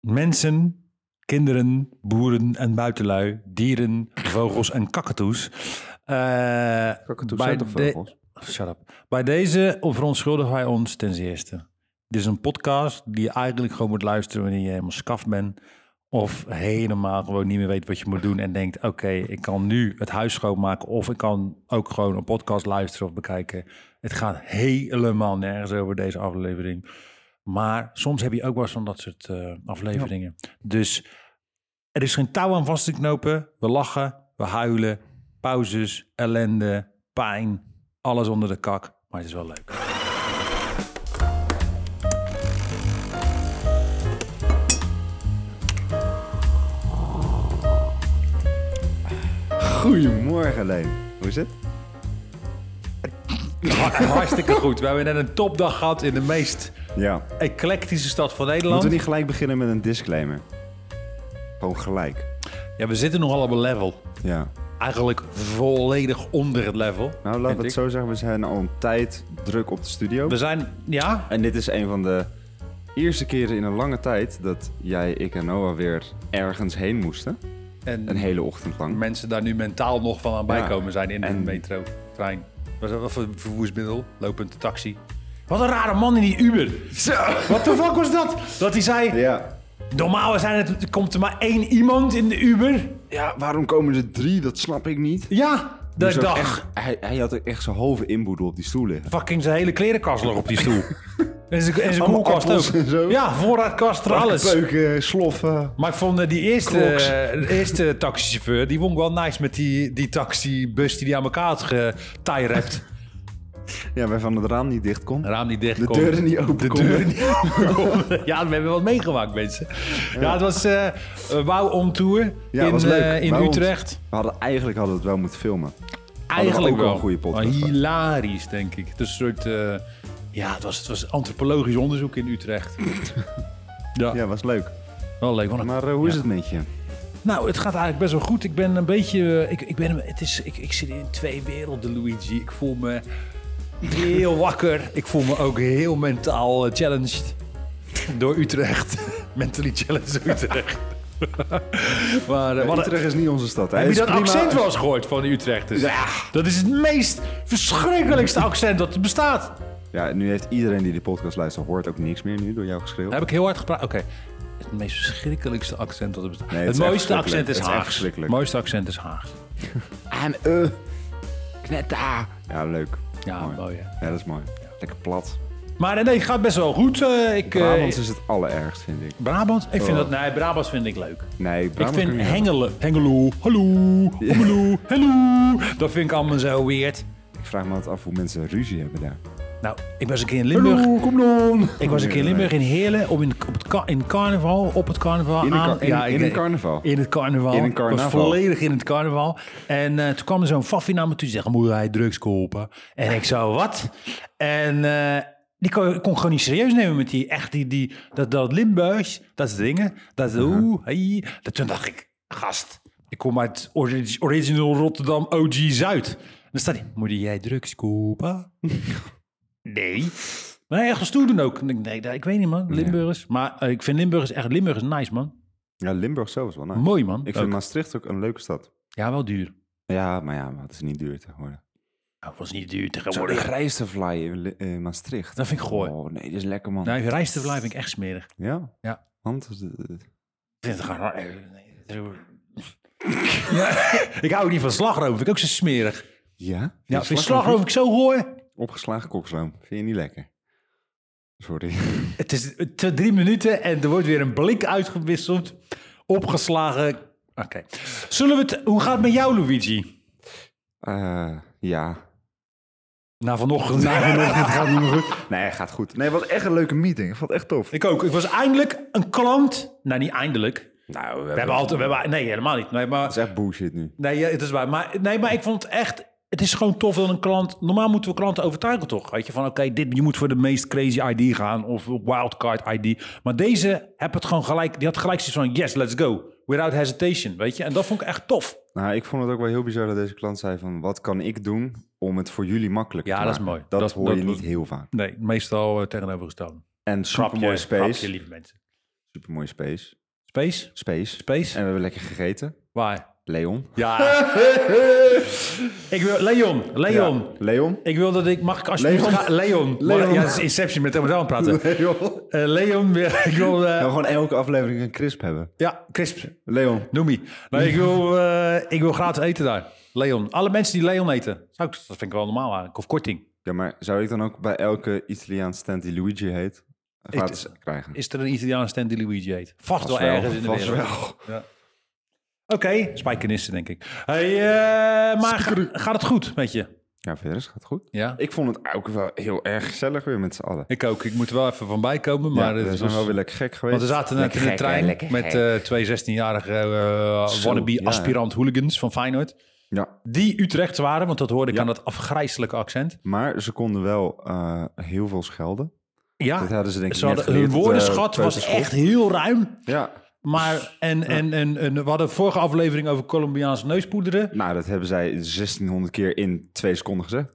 Mensen, kinderen, boeren en buitenlui, dieren, vogels en kakatoes. Eh, Kakatoes Bij zijn toch de- vogels? Shut up. Bij deze verontschuldigen wij ons ten eerste. Dit is een podcast die je eigenlijk gewoon moet luisteren wanneer je helemaal skaf bent. Of helemaal gewoon niet meer weet wat je moet doen en denkt... oké, ik kan nu het huis schoonmaken of ik kan ook gewoon een podcast luisteren of bekijken. Het gaat helemaal nergens over deze aflevering. Maar soms heb je ook wel eens van dat soort eh, afleveringen. Dus er is geen touw aan vast te knopen. We lachen, we huilen, pauzes, ellende, pijn, alles onder de kak. Maar het is wel leuk. Goedemorgen, Leen. Hoe is het? Hartstikke goed. We hebben net een topdag gehad in de meest Ja. eclectische stad van Nederland. Moeten we niet gelijk beginnen met een disclaimer? Gewoon gelijk. Ja, we zitten nogal op een level. Ja. Eigenlijk volledig onder het level. Nou, laten we vind het ik. zo zeggen. We zijn al een tijd druk op de studio. We zijn, ja, En dit is een van de eerste keren in een lange tijd dat jij, ik en Noah weer ergens heen moesten. Een en hele ochtend lang. mensen daar nu mentaal nog van aan bijkomen zijn in de En- metro, trein. Wat wat voor vervoersmiddel, lopend taxi. Wat een rare man in die Uber. Wat de fuck was dat? Dat hij zei, Ja. normaal zijn het, komt er maar één iemand in de Uber. Ja, waarom komen er drie? Dat snap ik niet. Ja, dat ik Zo dacht. echt- hij, hij had ook echt zijn halve inboedel op die stoel liggen. Fucking zijn hele klerenkast lag op die stoel. en zijn, en zijn Allemaal koelkast appels ook. en zo. Ja, voorraadkast, er alles. Peuken, sloffen. Maar ik vond eh, die eerste, Crocs. eh, de eerste taxichauffeur, die won wel nice met die, die taxibus die hij aan elkaar had getijrept. Ja, waarvan het raam niet dicht kon. Raam niet dicht De kon. deuren niet open De konden. deuren niet open. ja, we hebben wat meegemaakt, mensen. Ja, het was eh eh, Wauw on Tour Ja, in, was leuk. eh, in Wauw on- Utrecht. We hadden, eigenlijk hadden we het wel moeten filmen. Eigenlijk ook wel wel. een goede podcast Maar gehad. hilarisch, denk ik. Het is een soort... eh, ja, het was, het was antropologisch onderzoek in Utrecht. ja, Ja, was leuk. wel leuk. want- Maar eh, hoe is het met je? Nou, het gaat eigenlijk best wel goed. Ik ben een beetje... eh, ik, ik, ben, het is, ik, ik zit in twee werelden, Luigi. Ik voel me heel wakker. Ik voel me ook heel mentaal eh, challenged door Utrecht. Mentally challenged door Utrecht. maar, eh, wat een- Utrecht is niet onze stad. hè? Heb je Is dat prima. accent wel eens gehoord van de Utrechters? Ja. Dat is het meest verschrikkelijkste accent dat er bestaat. Ja, nu heeft iedereen die de podcast luistert, hoort ook niks meer nu door jou geschreeuwd. Heb ik heel hard gepraat? Oké. Het meest verschrikkelijkste accent dat er bestaat. Nee, het het is echt mooiste accent verschrikkelijk. is Het is echt Haags. Het verschrikkelijk. mooiste accent is Haags. En eh, knetta. Ja, leuk. Ja, Ah, mooi, hè? Ja, dat is mooi. Lekker plat. Maar eh, nee, nee, het gaat best wel goed. Eh, ik, eh, Brabants is het allerergst, vind ik. Brabant? Ik vind dat... Oh. Nee, Brabants vind ik leuk. Nee, Brabant ik kan vind niet Hengelo... Hengelo, hallo, hallo, hallo. Dat vind ik allemaal zo weird. hebben. Ik vraag me altijd af hoe mensen ruzie hebben daar. Nou, ik was een keer in Limburg. kom dan! Ik was een keer in Limburg in Heerlen om in, op het ka- in carnaval, op het carnaval. In een aan- kar- in- ik- in een carnaval? In het carnaval. In een Ik was carnaval. volledig in het carnaval. En eh, toen kwam er zo'n faffie naar me toe. Die zegt, moet hij drugs kopen? En ik zo, wat? En eh, die kon, ik kon gewoon niet serieus nemen met die, echt die, die dat, dat Limburgs, dat is dingen. Dat is Uh-huh. oeh, hey. Dat, toen dacht ik, gast, ik kom uit ori- original Rotterdam OG Zuid. En dan staat hij, moet jij drugs kopen? Nee. Maar nee, echt wel stoer doen ook. En ik- Nee, dat- ik weet niet, man. Limburgers. Maar eh, ik vind Limburgers echt... Limburg is nice, man. Ja, Limburg zelf is wel nice. Mooi, man. Ik vind Ook. Maastricht ook een leuke stad. Ja, wel duur. Ja, maar ja, maar het is niet duur tegenwoordig. Nou, was niet duur Zo tegenwoordig. die rijstevlaai in Li- eh, Maastricht. Dat vind ik Nou, gooi. Oh nee, dat is lekker man. Nee, rijstevlaai vind ik echt smerig. Ja? Ja. Want, eh, Ik vind het gewoon... eh, nee, dat is- Ja, ik hou niet van slagroom. Vind ik ook zo smerig. ja? Ja, vind ik slagroom vind ik zo hoor. Opgeslagen koksroom. Vind je niet lekker? Sorry. Het is te drie minuten en er wordt weer een blik uitgewisseld. Opgeslagen. Oké. Zullen we het... Hoe gaat het met jou, Luigi? Eh, ja. Na vanochtend. Na Het gaat niet meer goed. Nee, gaat goed. Nee, het was echt een leuke meeting. Ik vond het echt tof. Ik ook. Ik was eindelijk een klant. Nou, niet eindelijk. Nou, We hebben altijd... We hebben, nee, helemaal niet. Nee, maar, Dat is echt bullshit nu. nee, ja, het is waar. Maar, nee, maar ik vond het echt... Het is gewoon tof dat een klant... Normaal moeten we klanten overtuigen, toch? Weet je, van oké, dit je moet voor de meest crazy ID gaan. Of wildcard ID. Maar deze heb het gewoon gelijk... Die had gelijk zoiets van... Yes, let's go. Without hesitation, weet je? En dat vond ik echt tof. Nou, ik vond het ook wel heel bizar dat deze klant zei van... wat kan ik doen om het voor jullie makkelijk Ja, te dat is maken? mooi. Dat, Dat- hoor dat je was- niet heel vaak. Nee, meestal eh, tegenovergesteld. En supermooi space. lieve mensen. Supermooie space. Space? Space. Space? En we hebben lekker gegeten. Waar? Leon. Ja. ik wil, Leon, Leon. Ja, Leon. Ik wil dat ik, mag ik alsjeblieft... Leon. ga- Leon. Leon. Mag- Ja, het is Inception, met Thomas aan het praten. Leon. Eh, Leon, weer- ik wil... eh, We gaan gewoon elke aflevering een crisp hebben. ja, crisp. Leon. Noemie. Nou, ik wil, eh, ik wil gratis eten daar. Leon. Alle mensen die Leon eten. Zou ik, dat vind ik wel normaal eigenlijk. Of korting. Ja, maar zou ik dan ook bij elke Italiaans stand die Luigi heet, gratis krijgen? Is er een Italiaanse stand die Luigi eet? Vast wel Vast wel, ergens in de vast wereld. wel. Ja. Oké, spijkenissen denk ik. Hey, eh, maar ga- gaat het goed met je? Ja, verder is het gaat goed. Ja. Ik vond het ook wel heel erg gezellig weer met z'n allen. Ik ook. Ik moet er wel even van bijkomen. Maar Maar het we zijn was- wel weer lekker gek geweest. Want we zaten net in de trein met eh, twee 16-jarige eh, Zo, ja. wannabe-aspirant hooligans van Feyenoord. Ja, Die Utrecht waren, want dat hoorde ik aan dat afgrijselijke accent. maar ze konden wel eh, heel veel schelden. Ja, Dat hadden ze denk ik Ah, Ze net hadden, geleerd hun op de woordenschat was peuterschool. echt heel ruim. Ja, Maar, en, en, en, en we hadden vorige aflevering over Colombiaanse neuspoederen. nou dat hebben zij 1600 keer in twee seconden gezegd.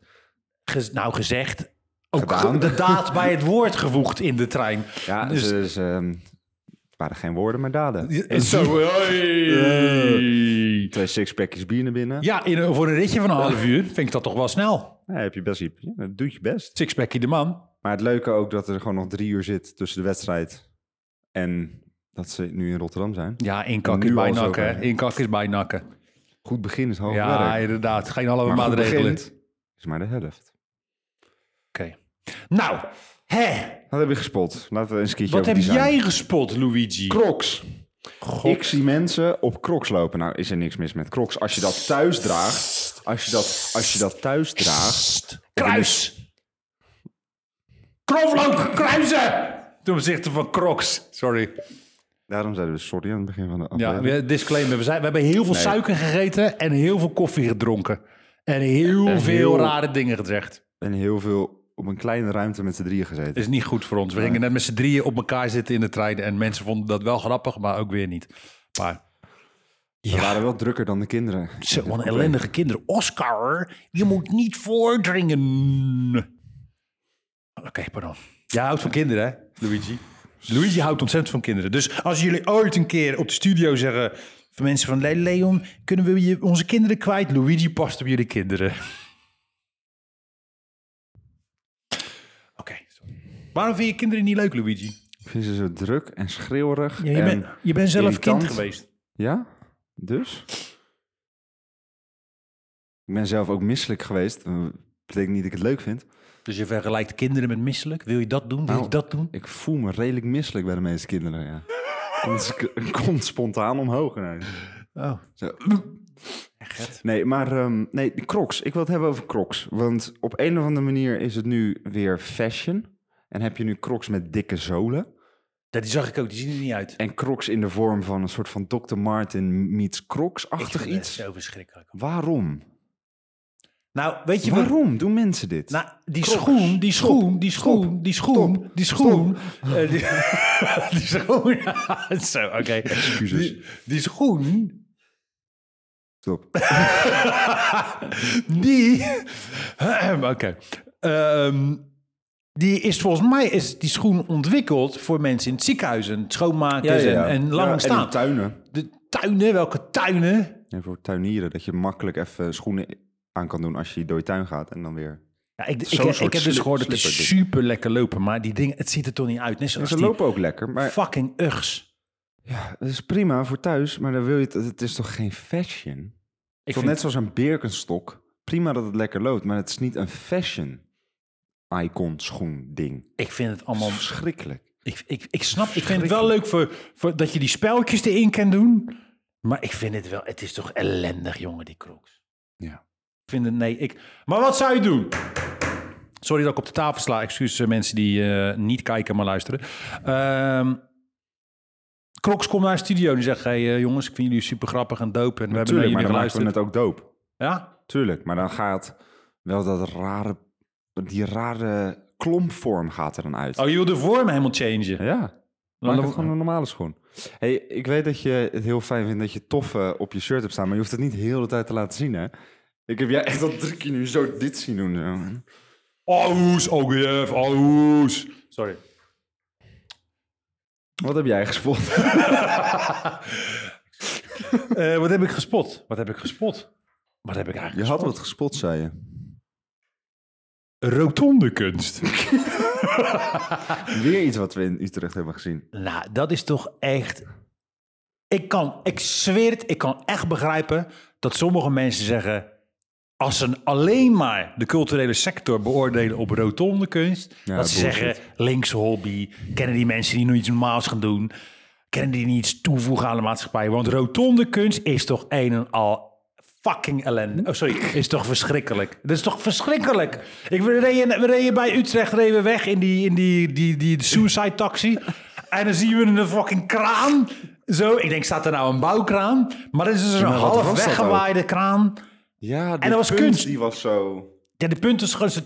Gez- nou, gezegd. Ook Gedaan. ge- de daad bij het woord gevoegd in de trein. Ja, Dus- dus, dus ehm, het waren geen woorden, maar daden. Zo, hoi. Twee sixpackjes bier naar binnen. Ja, in een- voor een ritje van een half uur vind ik dat toch wel snel. Ja, heb je best, je, ja, dat doet je best. Sixpackie de man. Maar het leuke ook dat er gewoon nog drie uur zit tussen de wedstrijd en dat ze nu in Rotterdam zijn. Ja, inkak is Nu al bijnakken. zo, hè. hè. Inkak is bijnakken. Goed begin is half Ja, werk. inderdaad. Geen halve Maar goed maatregelen. begin Oké. is maar de helft. Nou, hè. Wat heb je gespot? Laten we een skietje Wat over heb die zijn. jij gespot, Luigi? Crocs. God. Ik zie mensen op crocs lopen. Nou, is er niks mis met crocs. Als je dat thuis draagt... Als je dat, als je dat thuis draagt... Psst, Kruis! Knoflook, kruisen! Ten opzichte van Crocs. Sorry. Daarom zeiden we sorry aan het begin van de Ja, aflevering. we- disclaimer. We, zijn, we hebben heel veel suiker gegeten en heel veel koffie gedronken. En heel En veel heel- rare dingen gezegd. En heel veel op een kleine ruimte met z'n drieën gezeten. Dat is niet goed voor ons. We gingen net met z'n drieën op elkaar zitten in de trein. En mensen vonden dat wel grappig, maar ook weer niet. Maar We waren wel drukker dan de kinderen. zo, wat een ellendige kinderen. Oscar, je moet niet voordringen. Oké, pardon. Jij houdt van kinderen, hè, Luigi? Luigi houdt ontzettend van kinderen. Dus als jullie ooit een keer op de studio zeggen... van mensen van "Le- Leon, kunnen we je, onze kinderen kwijt? Luigi past op jullie kinderen. Oké, sorry. Waarom vind je kinderen niet leuk, Luigi? Ik vind ze zo druk en schreeuwerig. Ja, je, en... bent- je bent zelf kind irritant. geweest. Ja? Dus? Ik ben zelf ook misselijk geweest. Dat betekent niet dat ik het leuk vind. Dus je vergelijkt kinderen met misselijk. Wil je dat doen? Wil je Nou, dat doen? Ik voel me redelijk misselijk bij de meeste kinderen, ja. Komt, komt spontaan omhoog. ineens. Oh. Zo. Echt? Nee, maar ehm, nee, de crocs. Ik wil het hebben over crocs. Want op een of andere manier is het nu weer fashion. En heb je nu crocs met dikke zolen. Dat die zag ik ook, die zien er niet uit. En crocs in de vorm van een soort van Dr. Martin meets crocs-achtig iets. Zo verschrikkelijk. Waarom? Nou, weet je waarom? Waarom doen mensen dit? Nou, die Crocs. schoen, die Stop. schoen, die Stop. schoen, die schoen, Stop. die schoen. eh, die, die schoen. Zo, oké. Excuses. Die, die schoen, Stop. die. Oké. Ehm, die is volgens mij is die schoen ontwikkeld voor mensen in het ziekenhuis en het schoonmaken en, en lang Dus, eh, Ja, staan. in tuinen. de tuinen, welke tuinen? Ja, voor tuinieren, dat je makkelijk even schoenen aan kan doen als je door je tuin gaat en dan weer... Ja, ik, ik, Zo'n ik, soort heb dus slip- gehoord dat die slipperding. super lekker lopen, maar die dingen, het ziet er toch niet uit. Net zoals ze die- lopen ook lekker, maar Fucking Uggs. dat is prima voor thuis, maar dan wil je het, het is toch geen fashion? Ik Toch net zoals een Birkenstok, prima dat het lekker loopt, maar het is niet een fashion icon schoen ding. ik vind het Dat allemaal... is verschrikkelijk. Ik, ik, ik snap, ik vind het wel leuk voor, voor dat je die spelletjes erin kan doen. Maar ik vind het wel... Het is toch ellendig, jongen, die crocs. Ja. Ik vind het... Nee, ik... Maar wat zou je doen? Sorry dat ik op de tafel sla. Excuses eh, mensen die eh, niet kijken, maar luisteren. Ehm Crocs komt naar de studio en die zegt... hey, eh, jongens, ik vind jullie super grappig en dope. En we hebben naar Tuurlijk, maar jullie dan maken we geluisterd. het ook doop. Ja? Tuurlijk, maar dan gaat wel dat rare, die rare klompvorm gaat er dan uit. Oh, je wil de vorm helemaal changen. Ja. Dan- Maak het gewoon een normale schoen. Hey, ik weet dat je het heel fijn vindt dat je toffe op je shirt hebt staan, maar je hoeft het niet heel de tijd te laten zien, hè? Ik heb jij echt al drie keer nu zo dit zien doen. zo. Aus, OGF, aus. Sorry. Wat heb jij gespot? Eh, wat heb ik gespot? Wat heb ik gespot? Wat heb ik eigenlijk Je had wat gespot, zei je. Rotonde kunst. Weer iets wat we in Utrecht hebben gezien. nou, dat is toch echt... Ik kan, ik zweer het, ik kan echt begrijpen dat sommige mensen zeggen... Als ze alleen maar de culturele sector beoordelen op rotonde kunst... Ja, dat ze bullshit. zeggen, links hobby, kennen die mensen die nog iets normaals gaan doen... kennen die niet iets toevoegen aan de maatschappij. Want rotonde kunst is toch een en al fucking ellende. Oh, sorry, is toch verschrikkelijk. Dat is toch verschrikkelijk. Ik, we, reden, we reden bij Utrecht reden we weg in die, in die, die, die, suicide taxi. En dan zien we een fucking kraan. Zo, ik denk, staat er nou een bouwkraan? Maar dat is dus een maar wat half was dat weggewaaide kraan. Ja, En dat was punt, kunst. Die was zo... Ja, de punt is gewoon... zo-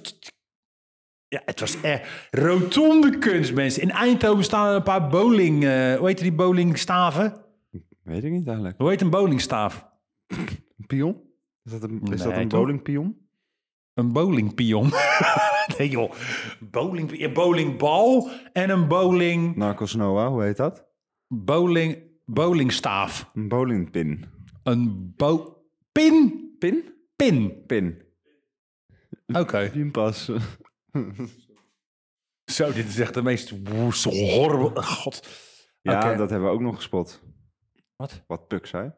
Ja, het was echt rotonde kunst, mensen. In Eindhoven staan er een paar bowling... eh, hoe heet die bowlingstaven? Weet ik niet eigenlijk. Hoe heet een bowlingstaaf? Een pion? Is dat een, is dat Nee, een toch? bowlingpion? Een bowlingpion. nee joh, bowling, een bowlingbal en een bowling, Narcos Noah, hoe heet dat? bowling, bowlingstaaf. Een bowlingpin. Een bo... Pin? Pin? Pin. Pin. Oké. Pinpas. Zo, dit is echt de meest woest, horrible... God. Ja, Oké. dat hebben we ook nog gespot. Wat? Wat Puk zei.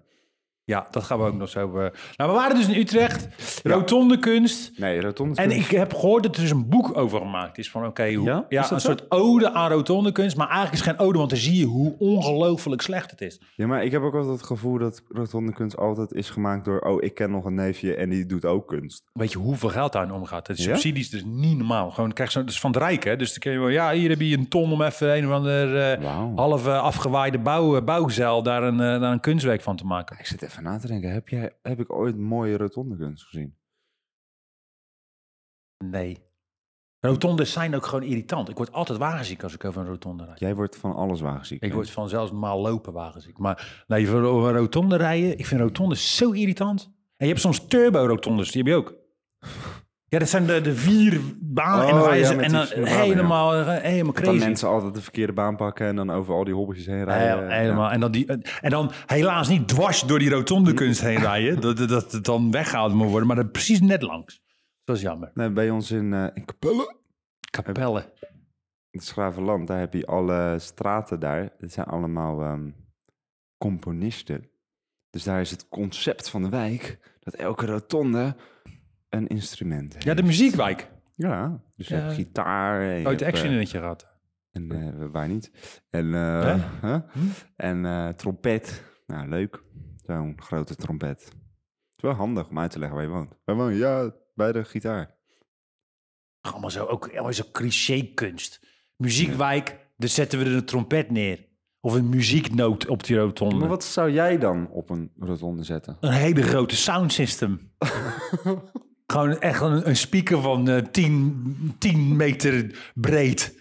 Ja, dat gaan we ook nog zo... eh, Nou, we waren dus in Utrecht. Rotonde kunst. Nee, rotonde En kunst. ik heb gehoord dat er dus een boek over gemaakt is. Van oké, hoe- Ja? ja? Is dat een zo? soort ode aan rotonde kunst. Maar eigenlijk is het geen ode, want dan zie je hoe ongelooflijk slecht het is. Ja, maar ik heb ook altijd het gevoel dat rotonde kunst altijd is gemaakt door... Oh, ik ken nog een neefje en die doet ook kunst. Weet je hoeveel geld daarin omgaat? Het Ja? subsidies dus niet normaal. Gewoon krijg je zo, dus van het Rijk, hè? Dus dan kun je wel, ja, hier heb je een ton om even een of ander eh Wauw. half eh, afgewaaide bouw, bouwzeil daar een, eh, daar een kunstwerk van te maken. Ik zit even na te denken. Heb, jij, heb ik ooit mooie rotonde kunst gezien? Nee. Rotondes zijn ook gewoon irritant. Ik word altijd wagenziek als ik over een rotonde rijd. Jij wordt van alles wagenziek. Ik word van zelfs normaal lopen wagenziek. Maar nee, voor over rotonde rijden, ik vind rotondes zo irritant. En je hebt soms turbo-rotondes, die heb je ook. Ja, dat zijn de, de vier banen en Oh, dan ga je ja, ze- met en die dan vier banen, ja. helemaal, eh, helemaal Dat crazy. mensen altijd de verkeerde baan pakken en dan over al die hobbeltjes heen rijden. Heel- helemaal. En, dan die, eh, en dan helaas niet dwars door die rotonde kunst heen rijden. Dat, dat, dat het dan weggehaald moet worden, maar dat precies net langs. Dat is jammer. Nee, bij ons in, eh in Capelle, Kapellen. het Schravenland, daar heb je alle straten daar. Het zijn allemaal ehm, componisten. Dus daar is het concept van de wijk dat elke rotonde een instrument heeft. Ja, de muziekwijk. Ja, dus je Ja. Oh, hebt gitaar. en je Ooit hebt, eh, actienetje gehad. en, eh, waar niet. En, eh, Hè? Hm? huh? en eh, trompet. Nou, leuk. Zo'n grote trompet. Het is wel handig om uit te leggen waar je woont. Wij wonen, ja, bij de gitaar. Allemaal zo, ook allemaal zo cliché kunst. Muziekwijk, dus zetten we er een trompet neer. Of een muzieknoot op die rotonde. Maar wat zou jij dan op een rotonde zetten? Een hele grote soundsystem. Gewoon echt een, een speaker van eh, 10 10 meter breed.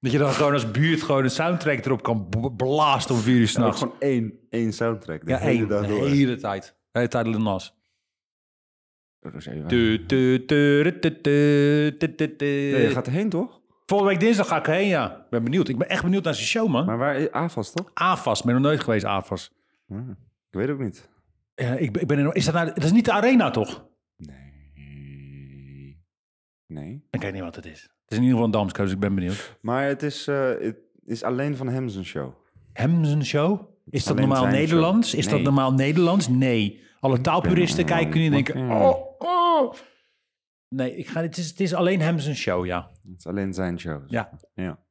Dat je dan gewoon als buurt gewoon een soundtrack erop kan b- blazen om vier uur Nou, s'nachts. gewoon één, één soundtrack. De Ja, hele één. dag De door. hele tijd. De hele tijd Lenas. Rosé, waar- Tu, tu, tu, ru, tu, tu, tu, tu, tu. Ja, je gaat erheen, toch? Volgende week dinsdag ga ik heen, ja. Ik ben benieuwd. Ik ben echt benieuwd naar zijn show, man. Maar waar is AFAS, toch? AFAS. Ik ben nog nooit geweest, AFAS. Ja, ik weet ook niet. Ja, ik, ben- ik ben er nog- is dat, nou, dat is niet de arena, toch? Nee. Nee. Ik weet niet wat het is. Het is in ieder geval een Damsko, dus ik ben benieuwd. Maar het is, eh, het is alleen van hem zijn show. Hem zijn show? Is dat Alleen normaal zijn show. Nederlands? Is Nee. dat normaal Nederlands? Nee. Alle taalpuristen ben- kijken nu en denken... Ja. Oh, oh. Nee, ik ga, het, is, het is alleen hem zijn show, ja. Het is alleen zijn show. Ja. ja.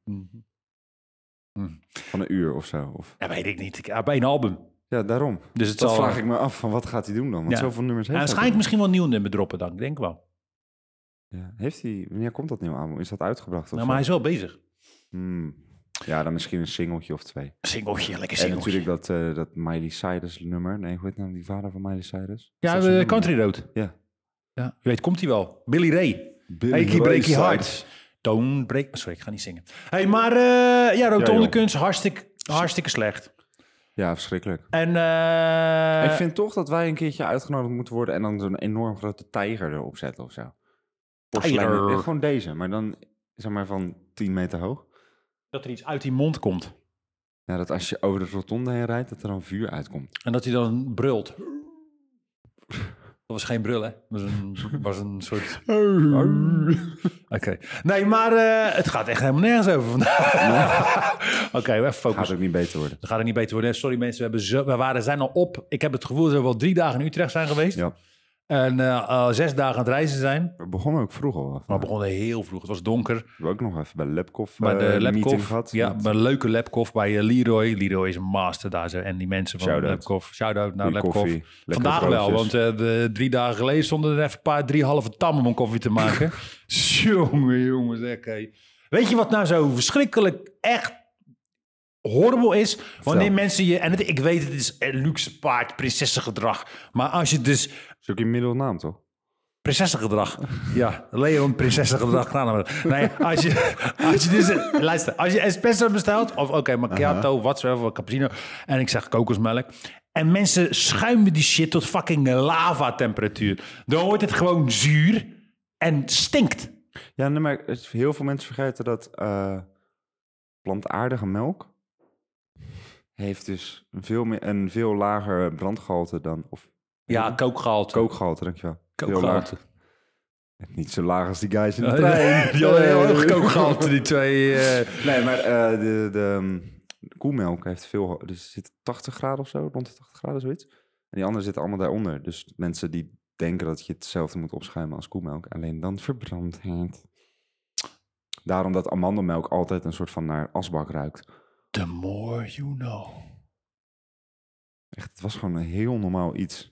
Van een uur of zo. Of... Dat weet ik niet. Ik heb één album. Ja, daarom. Dus het Dat zal... vraag ik me af, van wat gaat hij doen dan? Want Ja. zoveel nummers Ja, heeft hij. waarschijnlijk misschien wel een nieuw nummer droppen dan. Ik denk wel. Nou, Ja. Heeft hij, wanneer komt dat nieuwe album? Is dat uitgebracht of Nou, maar hij zo? is wel bezig. Hmm. Ja, dan misschien een singeltje of twee. Singeltje, lekker En singeltje. natuurlijk dat, eh, dat Miley Cyrus nummer. Nee, hoe heet nou die vader van Miley Cyrus? Is Ja, eh, dat zijn we- nummer? Country Road. Ja. Ja. Wie weet komt hij wel. Billy Ray. Billy Breaky Breaky Wayside. Heart. Don't break... Sorry, ik ga niet zingen. hey, maar eh, ja, Ja, rotonde joh. kunst, hartstikke, hartstikke slecht. Ja, verschrikkelijk. En eh, ik vind toch dat wij een keertje uitgenodigd moeten worden en dan zo'n enorm grote tijger erop zetten of zo. Porseleinen. Tijger. Ja, gewoon deze, maar dan zeg maar van 10 meter hoog. dat er iets uit die mond komt. Ja, dat als je over de rotonde heen rijdt, dat er dan vuur uitkomt. En dat hij dan brult. Dat was geen brul, hè? Dat was een, was een soort... Mm. Oké. Nee, maar eh, het gaat echt helemaal nergens over vandaag. Oké, we even focus. Gaat ook niet beter worden. Dat gaat er niet beter worden. Sorry mensen, we, hebben zo, we waren, zijn al op. Ik heb het gevoel dat we wel drie dagen in Utrecht zijn geweest. Ja. En eh, eh, zes dagen aan het reizen zijn. We begonnen ook vroeg al. af. Maar we begonnen heel vroeg. Het was donker. We hebben ook nog even bij Lepkoff Bij de eh, een meeting Lepkoff. gehad. Ja, met bij een leuke Lepkoff bij eh, Leroy. Leroy is een master daar. zo. En die mensen van Shout-out. Lepkoff. Shout-out naar goede Lepkoff. koffie, lekkere Vandaag wel, want broodjes. eh, de drie dagen geleden stonden er even een paar, drie halve tam om een koffie te maken. jongen, jongens, zeg. hé. Weet je wat nou zo verschrikkelijk echt horrible is? Wanneer Vertel. mensen je, en het, ik weet het is eh, luxe paard, prinsessengedrag. Maar als je dus is ook je middelnaam, toch? Prinsessengedrag. Ja, Leon, prinsessengedrag. Ga nou maar. Nee, als je, als je dus... Luister, als je espresso bestelt... Of oké, macchiato, whatsoever, cappuccino. En ik zeg kokosmelk. En mensen schuimen die shit tot fucking lava-temperatuur. Dan wordt het gewoon zuur en stinkt. Ja, nee, maar het- heel veel mensen vergeten dat eh, plantaardige melk heeft dus een veel, meer, een veel lager brandgehalte dan... Of Ja, kookgehalte. kookgehalte, dankjewel. Veel kookgehalte. laag. Niet zo laag als die guys in de Die trein. hadden heel erg kookgehalte, die twee. eh. Nee, maar eh, de, de, mm, de koemelk heeft veel... ho- Dus zit 80 graden of zo, rond de 80 graden, zoiets. En die anderen zitten allemaal daaronder. Dus mensen die denken dat je hetzelfde moet opschuimen als koemelk, alleen dan verbrandt het. Daarom dat amandelmelk altijd een soort van naar asbak ruikt. The more you know. Echt, het was gewoon een heel normaal iets.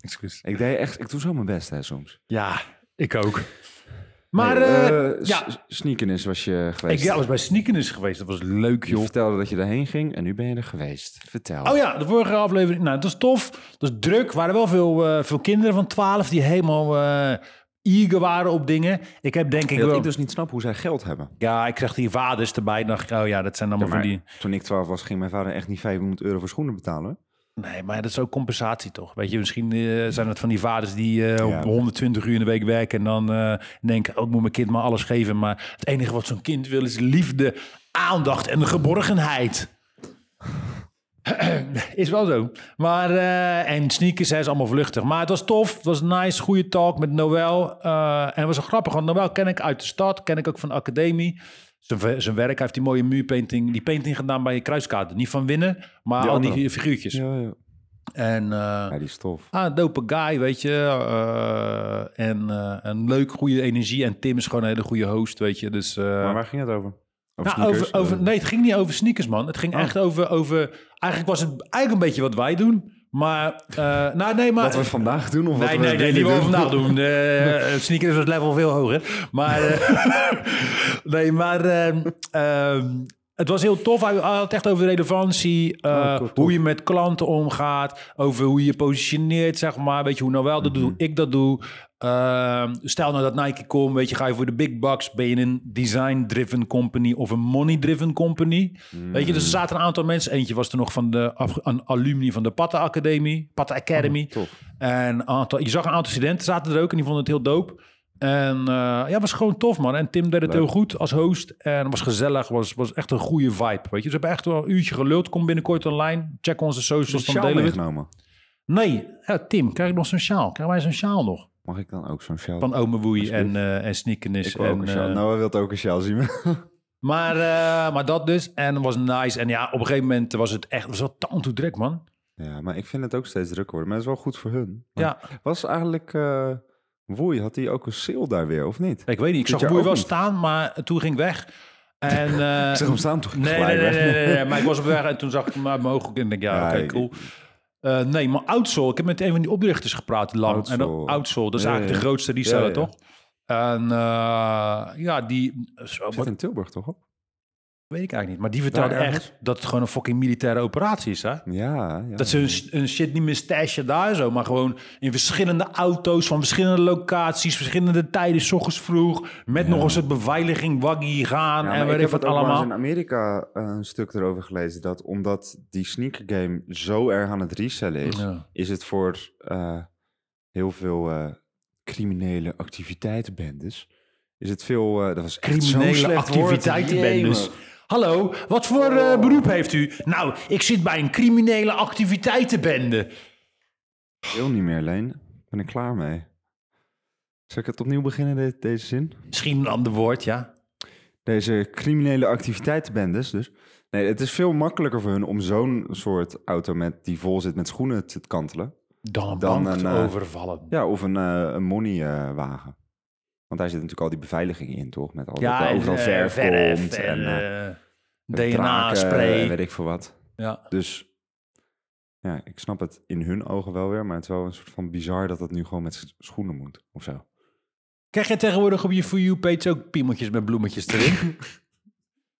Excuus. Ik deed echt, ik doe zo mijn best hè, soms. Ja, ik ook. Maar... Hey, eh, eh, s- ja. s- Sneakenis was je Ik geweest. ja, was bij Sneakiness geweest. Dat was leuk, Je joh. vertelde dat je daarheen ging en nu ben je er geweest. Vertel. Oh ja, de vorige aflevering. Nou, dat is tof. Dat is druk. Er waren wel veel, eh, veel kinderen van 12 die helemaal eh eager waren op dingen. Ik heb denk ik Dat wel... ik dus niet snap hoe zij geld hebben. Ja, ik kreeg die vaders erbij. Dan dacht ik, oh ja, dat zijn allemaal Maar van die... toen ik 12 was, ging mijn vader echt niet 500 euro voor schoenen betalen. hoor. Nee, maar dat is ook compensatie toch? Weet je, misschien eh, zijn het van die vaders die eh, Ja. op 120 uur in de week werken... en dan eh, denken, oh, ik moet mijn kind maar alles geven. Maar het enige wat zo'n kind wil is liefde, aandacht en geborgenheid. Is wel zo. Maar, eh, en sneakers, hij is allemaal vluchtig. Maar het was tof, het was nice, goede talk met Noël. Eh, en het was wel grappig, want Noël ken ik uit de stad, ken ik ook van de academie. Zijn, ve- zijn werk, hij heeft die mooie muurpainting, die painting gedaan bij Kruiskade. Niet van winnen, maar Die al die andere. figuurtjes. Ja, ja. En eh, Dus die stof. ah, dope guy, weet je. eh, en eh, een leuk, goede energie. En Tim is gewoon een hele goede host, weet je. Dus, eh, Maar waar ging het over? Over nou, sneakers? over, over, Eh, nee, het ging niet over sneakers, man. Het ging Oh. echt over, over... Eigenlijk was het eigenlijk een beetje wat wij doen. Maar, eh, nou nee, maar... Wat we vandaag doen of Nee, wat we nee, nee, willen die we doen? vandaag doen. Eh, het sneaker is het level veel hoger. Maar, eh, nee, maar ehm, ehm, het was heel tof. Hij had het echt over relevantie, eh, Oh, cool, hoe je met klanten omgaat, over hoe je je positioneert, zeg maar. Weet je, hoe nou wel dat doet, hoe ik dat doe. Ehm, stel nou dat Nike komt, weet je, ga je voor de big bucks? Ben je een design-driven company of een money-driven company? Weet je, dus er zaten een aantal mensen. Eentje was er nog van de af- een alumni van de Patta Academie, Patta Academy. Tof. En een aantal, je zag een aantal studenten zaten er ook en die vonden het heel dope. En eh, ja, het was gewoon tof, man. En Tim deed het Leuk. heel goed als host. En het was gezellig, was, was echt een goede vibe, weet je. Ze hebben echt wel een uurtje geluld. Kom binnenkort online, check onze socials, dan Sjaal delen we het. meegenomen. Nee, ja, Tim, krijg ik nog zo'n sjaal? Krijgen wij zo'n sjaal nog? Mag ik dan ook zo'n sjaal? Van Ome Woei en, Alsjeblieft. eh en Sneakenis. Ik wil en, ook een sjaal. eh, Nou, hij wil ook een sjaal zien. maar, eh, maar dat dus. En het was nice. En ja, op een gegeven moment was het echt... Het was wel town to druk, man. Ja, maar ik vind het ook steeds drukker worden. Maar het is wel goed voor hun. Maar Ja. Was eigenlijk... eh Woei, had hij ook een sale daar weer, of niet? Ik weet niet, ik Dit zag jaar Boei ook wel niet. staan, maar toen ging ik weg. En, eh, Ik zag hem staan toen Nee, gelijk nee, nee, weg. nee, nee, nee, maar ik was op weg en toen zag ik hem uit mijn ooghoek en ik denk, ja, Ja, oké, ik- cool. Eh, nee, maar Outsol, ik heb met een van die oprichters gepraat lang. En dat, Outsol. Outsol, dat is Ja, eigenlijk ja. de grootste reseller, Ja, ja. toch? En eh, ja, die, zo, Zit wat in Tilburg toch op? weet ik eigenlijk niet, maar die vertelde Daar ergens? echt dat het gewoon een fucking militaire operatie is, hè? Ja, ja. Dat ze hun, hun shit niet meer stashen daar en zo, maar gewoon in verschillende auto's van verschillende locaties, verschillende tijden, s ochtends vroeg, met nog eens het beveiliging, waggie gaan Ja, maar en weet ik heb wat het ook wel eens allemaal. in Amerika eh, een stuk erover gelezen dat omdat die sneaker game zo erg aan het resellen is, Ja. is het voor eh, heel veel eh, criminele activiteitenbendes. Is het veel, eh, dat was echt zo'n Criminele slecht woord. activiteitenbendes. Jemig. Hallo, wat voor Oh. eh, beroep heeft u? Nou, ik zit bij een criminele activiteitenbende. Ik wil niet meer, Leen. Ik ben er klaar mee. Zal ik het opnieuw beginnen, de- deze zin? Misschien een ander woord, ja. Deze criminele activiteitenbendes dus. Nee, het is veel makkelijker voor hun om zo'n soort auto met, die vol zit met schoenen te kantelen. Dan een Dan bank een, te eh, overvallen. Ja, of een, eh een moneywagen. Want daar zit natuurlijk al die beveiliging in, toch? Met al dat er en, overal eh, verf, verf komt en, eh, en eh, draken en DNA-spray. weet ik veel wat. Ja. Dus ja, ik snap het in hun ogen wel weer, maar het is wel een soort van bizar dat dat nu gewoon met s- schoenen moet of zo. Krijg je tegenwoordig op je For You-page ook piemeltjes met bloemetjes erin?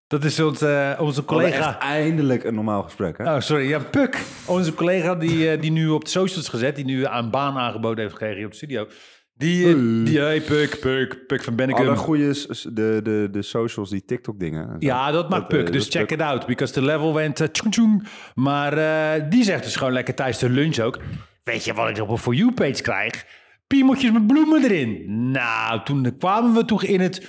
dat is ons, eh, onze We collega... hadden Oh, echt eindelijk een normaal gesprek, hè? Oh, sorry. Ja, Puk. Onze collega die, eh, die nu op de socials gezet, die nu aan baan aangeboden heeft gekregen hier op de studio. Die, eh, Hey. Ah, die hey, Puk, Puk, Puk van Bennekum. Alle goede s- s- de, de, de socials, die TikTok-dingen. ja, dat maakt Dat, eh, Puk. dat Dus is check it out. Because the level went eh, tjoeng tjoeng. Maar eh, die zegt dus gewoon lekker tijdens de lunch ook. Weet je wat ik op een For You page krijg? Piemeltjes met bloemen erin. Nou, toen kwamen we toch in het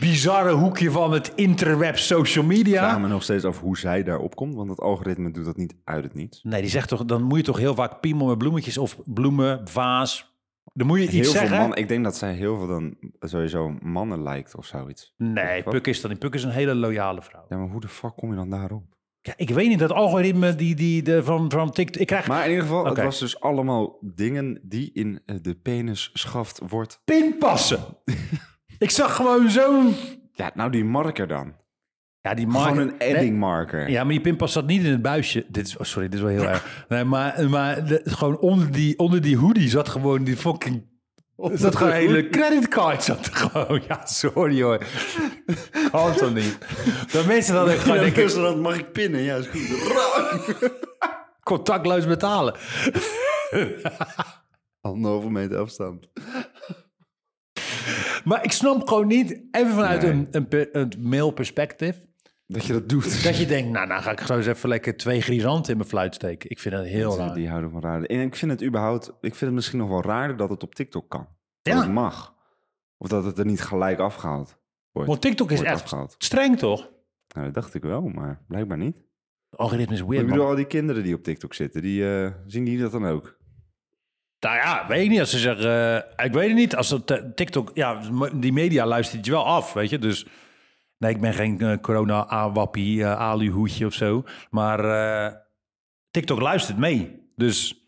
bizarre hoekje van het interweb social Ik media. vraag me nog steeds af hoe zij daarop komt, want het algoritme doet dat niet uit het niets. Nee, die zegt toch, dan moet je toch heel vaak piemel met bloemetjes of bloemen, vaas. Dan moet je Heel iets veel zeggen. mannen, ik denk dat zij heel veel dan sowieso mannen lijkt of zoiets. Nee, Wat? Puk is dat niet. Puk is een hele loyale vrouw. Ja, maar hoe de fuck kom je dan daarop? Ja, ik weet niet, dat algoritme die, die de, van, van TikTok... Ik krijg Maar in ieder geval, Oké. het was dus allemaal dingen die in eh, de penisschaft wordt. pinpassen. ik zag gewoon zo'n... Ja, nou die marker dan. Ja, die Gewoon marker- een edding marker. Nee, ja, maar die pinpas zat niet in het buisje. Dit is, oh, sorry, dit is wel heel erg. Nee, maar maar de- gewoon onder die, onder die hoodie zat gewoon die fucking... Er zat gewoon een hele creditcard zat er gewoon. Ja, sorry hoor. Kan toch niet. Dat mensen dan ook gewoon denken, dat mag ik pinnen, ja, is goed. contactloos betalen. Anderhalve meter afstand. Maar ik snap gewoon niet, even vanuit Nee. een, een, per- een male perspective, Dat je dat doet. dat je denkt, nou, nou ga ik zo eens even lekker twee grisanten in mijn fluit steken. Ik vind dat heel raar. Die houden van raar. En ik vind het überhaupt, ik vind het misschien nog wel raarder dat het op TikTok kan. Dat Ja. het mag. Of dat het er niet gelijk afgehaald wordt. Want TikTok is wordt echt afgehaald. streng, toch? Nou, dat dacht ik wel, maar blijkbaar niet. Het algoritme is ik weird, bedoel, man. al die kinderen die op TikTok zitten, die eh, zien die dat dan ook? Nou ja, weet ik niet. Als ze zeggen, eh, ik weet het niet. Als dat, eh, TikTok, ja, die media luistert je wel af, weet je. Dus nee, ik ben geen eh, corona-awappie, eh, aluhoedje of zo. Maar eh, TikTok luistert mee. Dus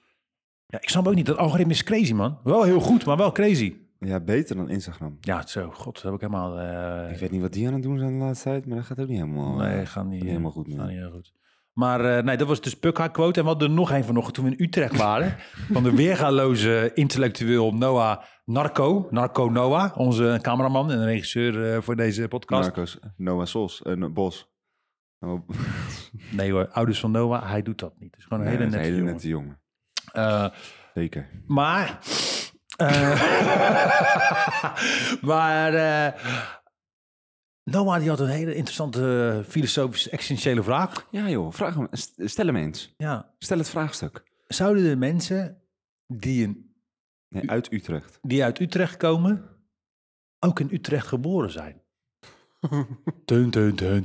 ja, ik snap ook niet, dat algoritme is crazy, man. Wel heel goed, maar wel crazy. Ja, beter dan Instagram. Ja, zo. God, dat heb ik helemaal. eh, Ik weet niet wat die aan het doen zijn de laatste tijd, maar dat gaat ook niet helemaal. eh, nee, gaan niet niet helemaal goed Gaan meer. niet heel goed. Maar eh, nee, dat was dus Puk haar quote. En we hadden er nog een vanochtend toen we in Utrecht waren. van de weergaloze intellectueel Noah Narco. Narco Noah, onze cameraman en regisseur eh, voor deze podcast. Marcos, Noah Sos, een Bos. Oh, Nee hoor, ouders van Noah, hij doet dat niet. Het is gewoon een nee, hele dat is nette een hele jongen. nette jongen. Eh, Zeker. Maar. eh, maar. eh, Noah die had een hele interessante eh, filosofische existentiële vraag. Ja joh, vraag hem, st- stel hem eens. Ja. Stel het vraagstuk. Zouden de mensen die, in, Nee, uit Utrecht. die uit Utrecht komen. ook in Utrecht geboren zijn? Teun, teun, teun, Hij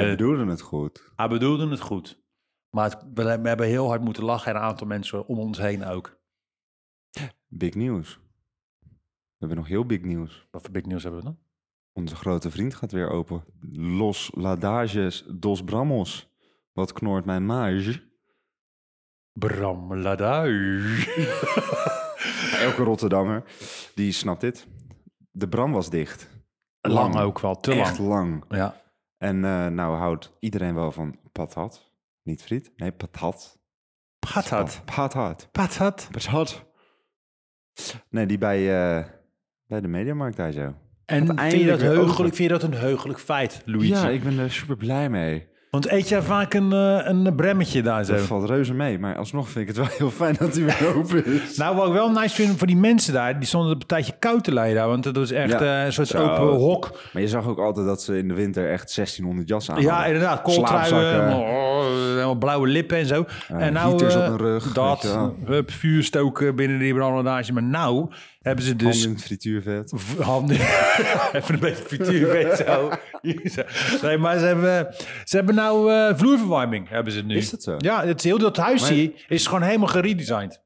teun. bedoelde het goed. Hij bedoelde het goed. Maar het- we we hebben heel hard moeten lachen. en een aantal mensen om ons heen ook. Big nieuws. We hebben nog heel big nieuws. Wat voor big nieuws hebben we dan? Onze grote vriend gaat weer open. Los Ladages dos Bramos. Wat knort mijn mage. Bram Ladui. Elke Rotterdammer, die snapt dit. De Bram was dicht. Lang ook wel, te Echt lang. lang. Ja. En eh, nou houdt iedereen wel van patat. Niet friet, nee patat. Patat. Oh, Patat. Patat. Patat. Nee, die bij, eh, bij de Mediamarkt daar zo. En vind je, Uiteindelijk dat weer over. heugelijk, vind je dat een heugelijk feit, Luigi? Ja, ik ben er super blij mee. Want eet jij vaak een, eh, een bremmetje daar zo? Dat valt reuze mee, maar alsnog vind ik het wel heel fijn dat hij weer open is. Nou, wat ik wel nice vind voor die mensen daar, die stonden op een tijdje koud te lijden. Want dat was echt Ja. eh, een soort Zo. open hok. Maar je zag ook altijd dat ze in de winter echt 1600 jas aan Ja, hadden. inderdaad. Kooltruien, Slaapzakken. helemaal, oh, helemaal allemaal blauwe lippen en zo. en nou, heaters eh, op hun rug, weet dat, je wel. hup, vuur stoken binnen die brandlandage. Maar nou hebben ze dus Handen in het frituurvet. V- Handen. Even een beetje frituur, weet je wel. Jezus. Nee, maar ze hebben, ze hebben nou eh, vloerverwarming, hebben ze nu. Is dat zo? Ja, het is heel dat huis Maar- hier is gewoon helemaal geredesigned.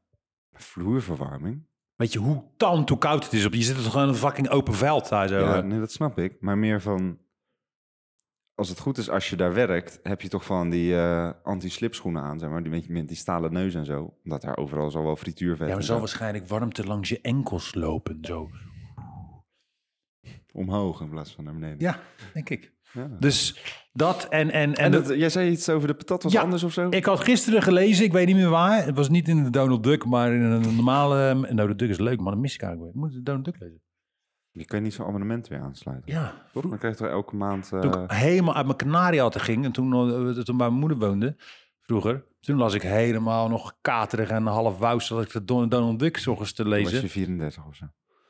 Vloerverwarming? Weet je hoe tant hoe koud het is op je? zit er gewoon in een fucking open veld daar zo. eh. Ja, nee, dat snap ik. Maar meer van... Als het goed is, als je daar werkt, heb je toch van die eh, anti-slipschoenen aan, zeg maar. Die, met, met die stalen neus en zo. Omdat daar overal zal wel frituurvet Ja, maar en zal zo waarschijnlijk warmte langs je enkels lopen, zo. omhoog in plaats van naar beneden. Ja, denk ik. Ja. Dus dat en... En, en, En dat, jij zei iets over de patat was Ja, anders of zo? Ik had gisteren gelezen, ik weet niet meer waar. Het was niet in de Donald Duck, maar in een normale... ehm, Nou, de Duck is leuk, maar dan mis ik eigenlijk weer. Ik moet de Donald Duck lezen. Je kan niet zo'n abonnement weer aansluiten. Ja, Toch? Dan krijg je toch elke maand... eh, Toen ik helemaal uit mijn Canariaten ging en toen, eh, toen mijn moeder woonde, vroeger, toen las ik helemaal nog katerig en half wous dat ik de Don- Donald Duck zorgens te was lezen. je 34 of zo.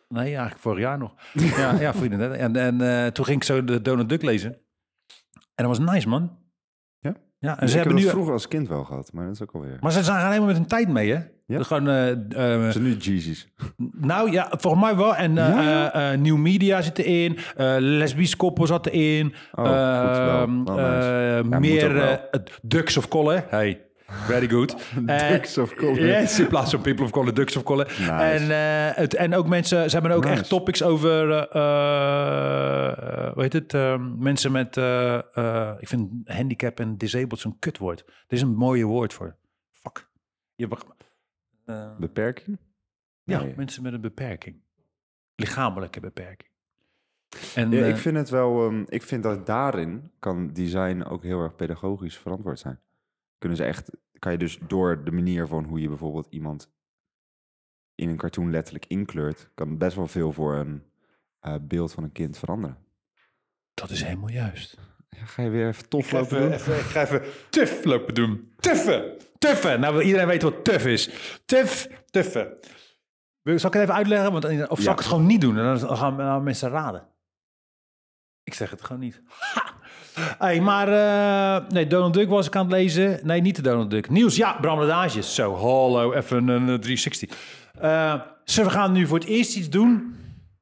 Nee, eigenlijk vorig jaar nog. ja, ja, vrienden. hè. En, en eh, toen ging ik zo de Donald Duck lezen. En dat was nice, man. Ja? Ja, en Dus ze ik heb hebben dat nu... vroeger als kind wel gehad, maar dat is ook alweer... Maar ze zijn gaan helemaal met hun tijd mee, hè? Ja? Dus Gewoon, eh, eh, Ze zijn nu Jeezy's. nou ja, volgens mij wel. En eh, Ja? eh, eh, Nieuw Media zit erin. eh lesbisch koppel zat erin. Oh, goed, wel. Ehm, Wel nice. eh, moet ook meer wel. eh, Ducks of Color. Hey, very good. Eh, Ducks of Color. Yes, in plaats van People of Color, Ducks of Color. Nice. En, eh, het, en ook mensen, ze hebben ook echt Nice. topics over, eh, eh, hoe heet het, ehm, mensen met, eh, eh, ik vind handicap en disabled zo'n kutwoord. Er is een mooie woord voor. Fuck. Je hebt- eh, Beperking? ja, Nee. mensen met een beperking. Lichamelijke beperking. En, Ja, eh, ik vind het wel... ehm, ik vind dat daarin kan design ook heel erg pedagogisch verantwoord zijn. Kunnen ze echt... Kan je dus door de manier van hoe je bijvoorbeeld iemand in een cartoon letterlijk inkleurt... kan best wel veel voor een eh, beeld van een kind veranderen. dat is helemaal juist. Ja, ga je weer even tof lopen doen? ik ga even tuf lopen doen. Tuffen! Tuffen! Nou, iedereen weet wat tuf is. Tuf, tuffen. Wil- Zal ik het even uitleggen? Want, eh, of zal Ja. ik het gewoon niet doen? En dan gaan dan gaan mensen raden. Ik zeg het gewoon niet. Ha! Hey, maar eh, nee, Donald Duck was ik aan het lezen. Nee, niet de Donald Duck. Nieuws, ja, Bram Ladages. Zo, hallo, even een eh, 360. Eh, ze gaan nu voor het eerst iets doen.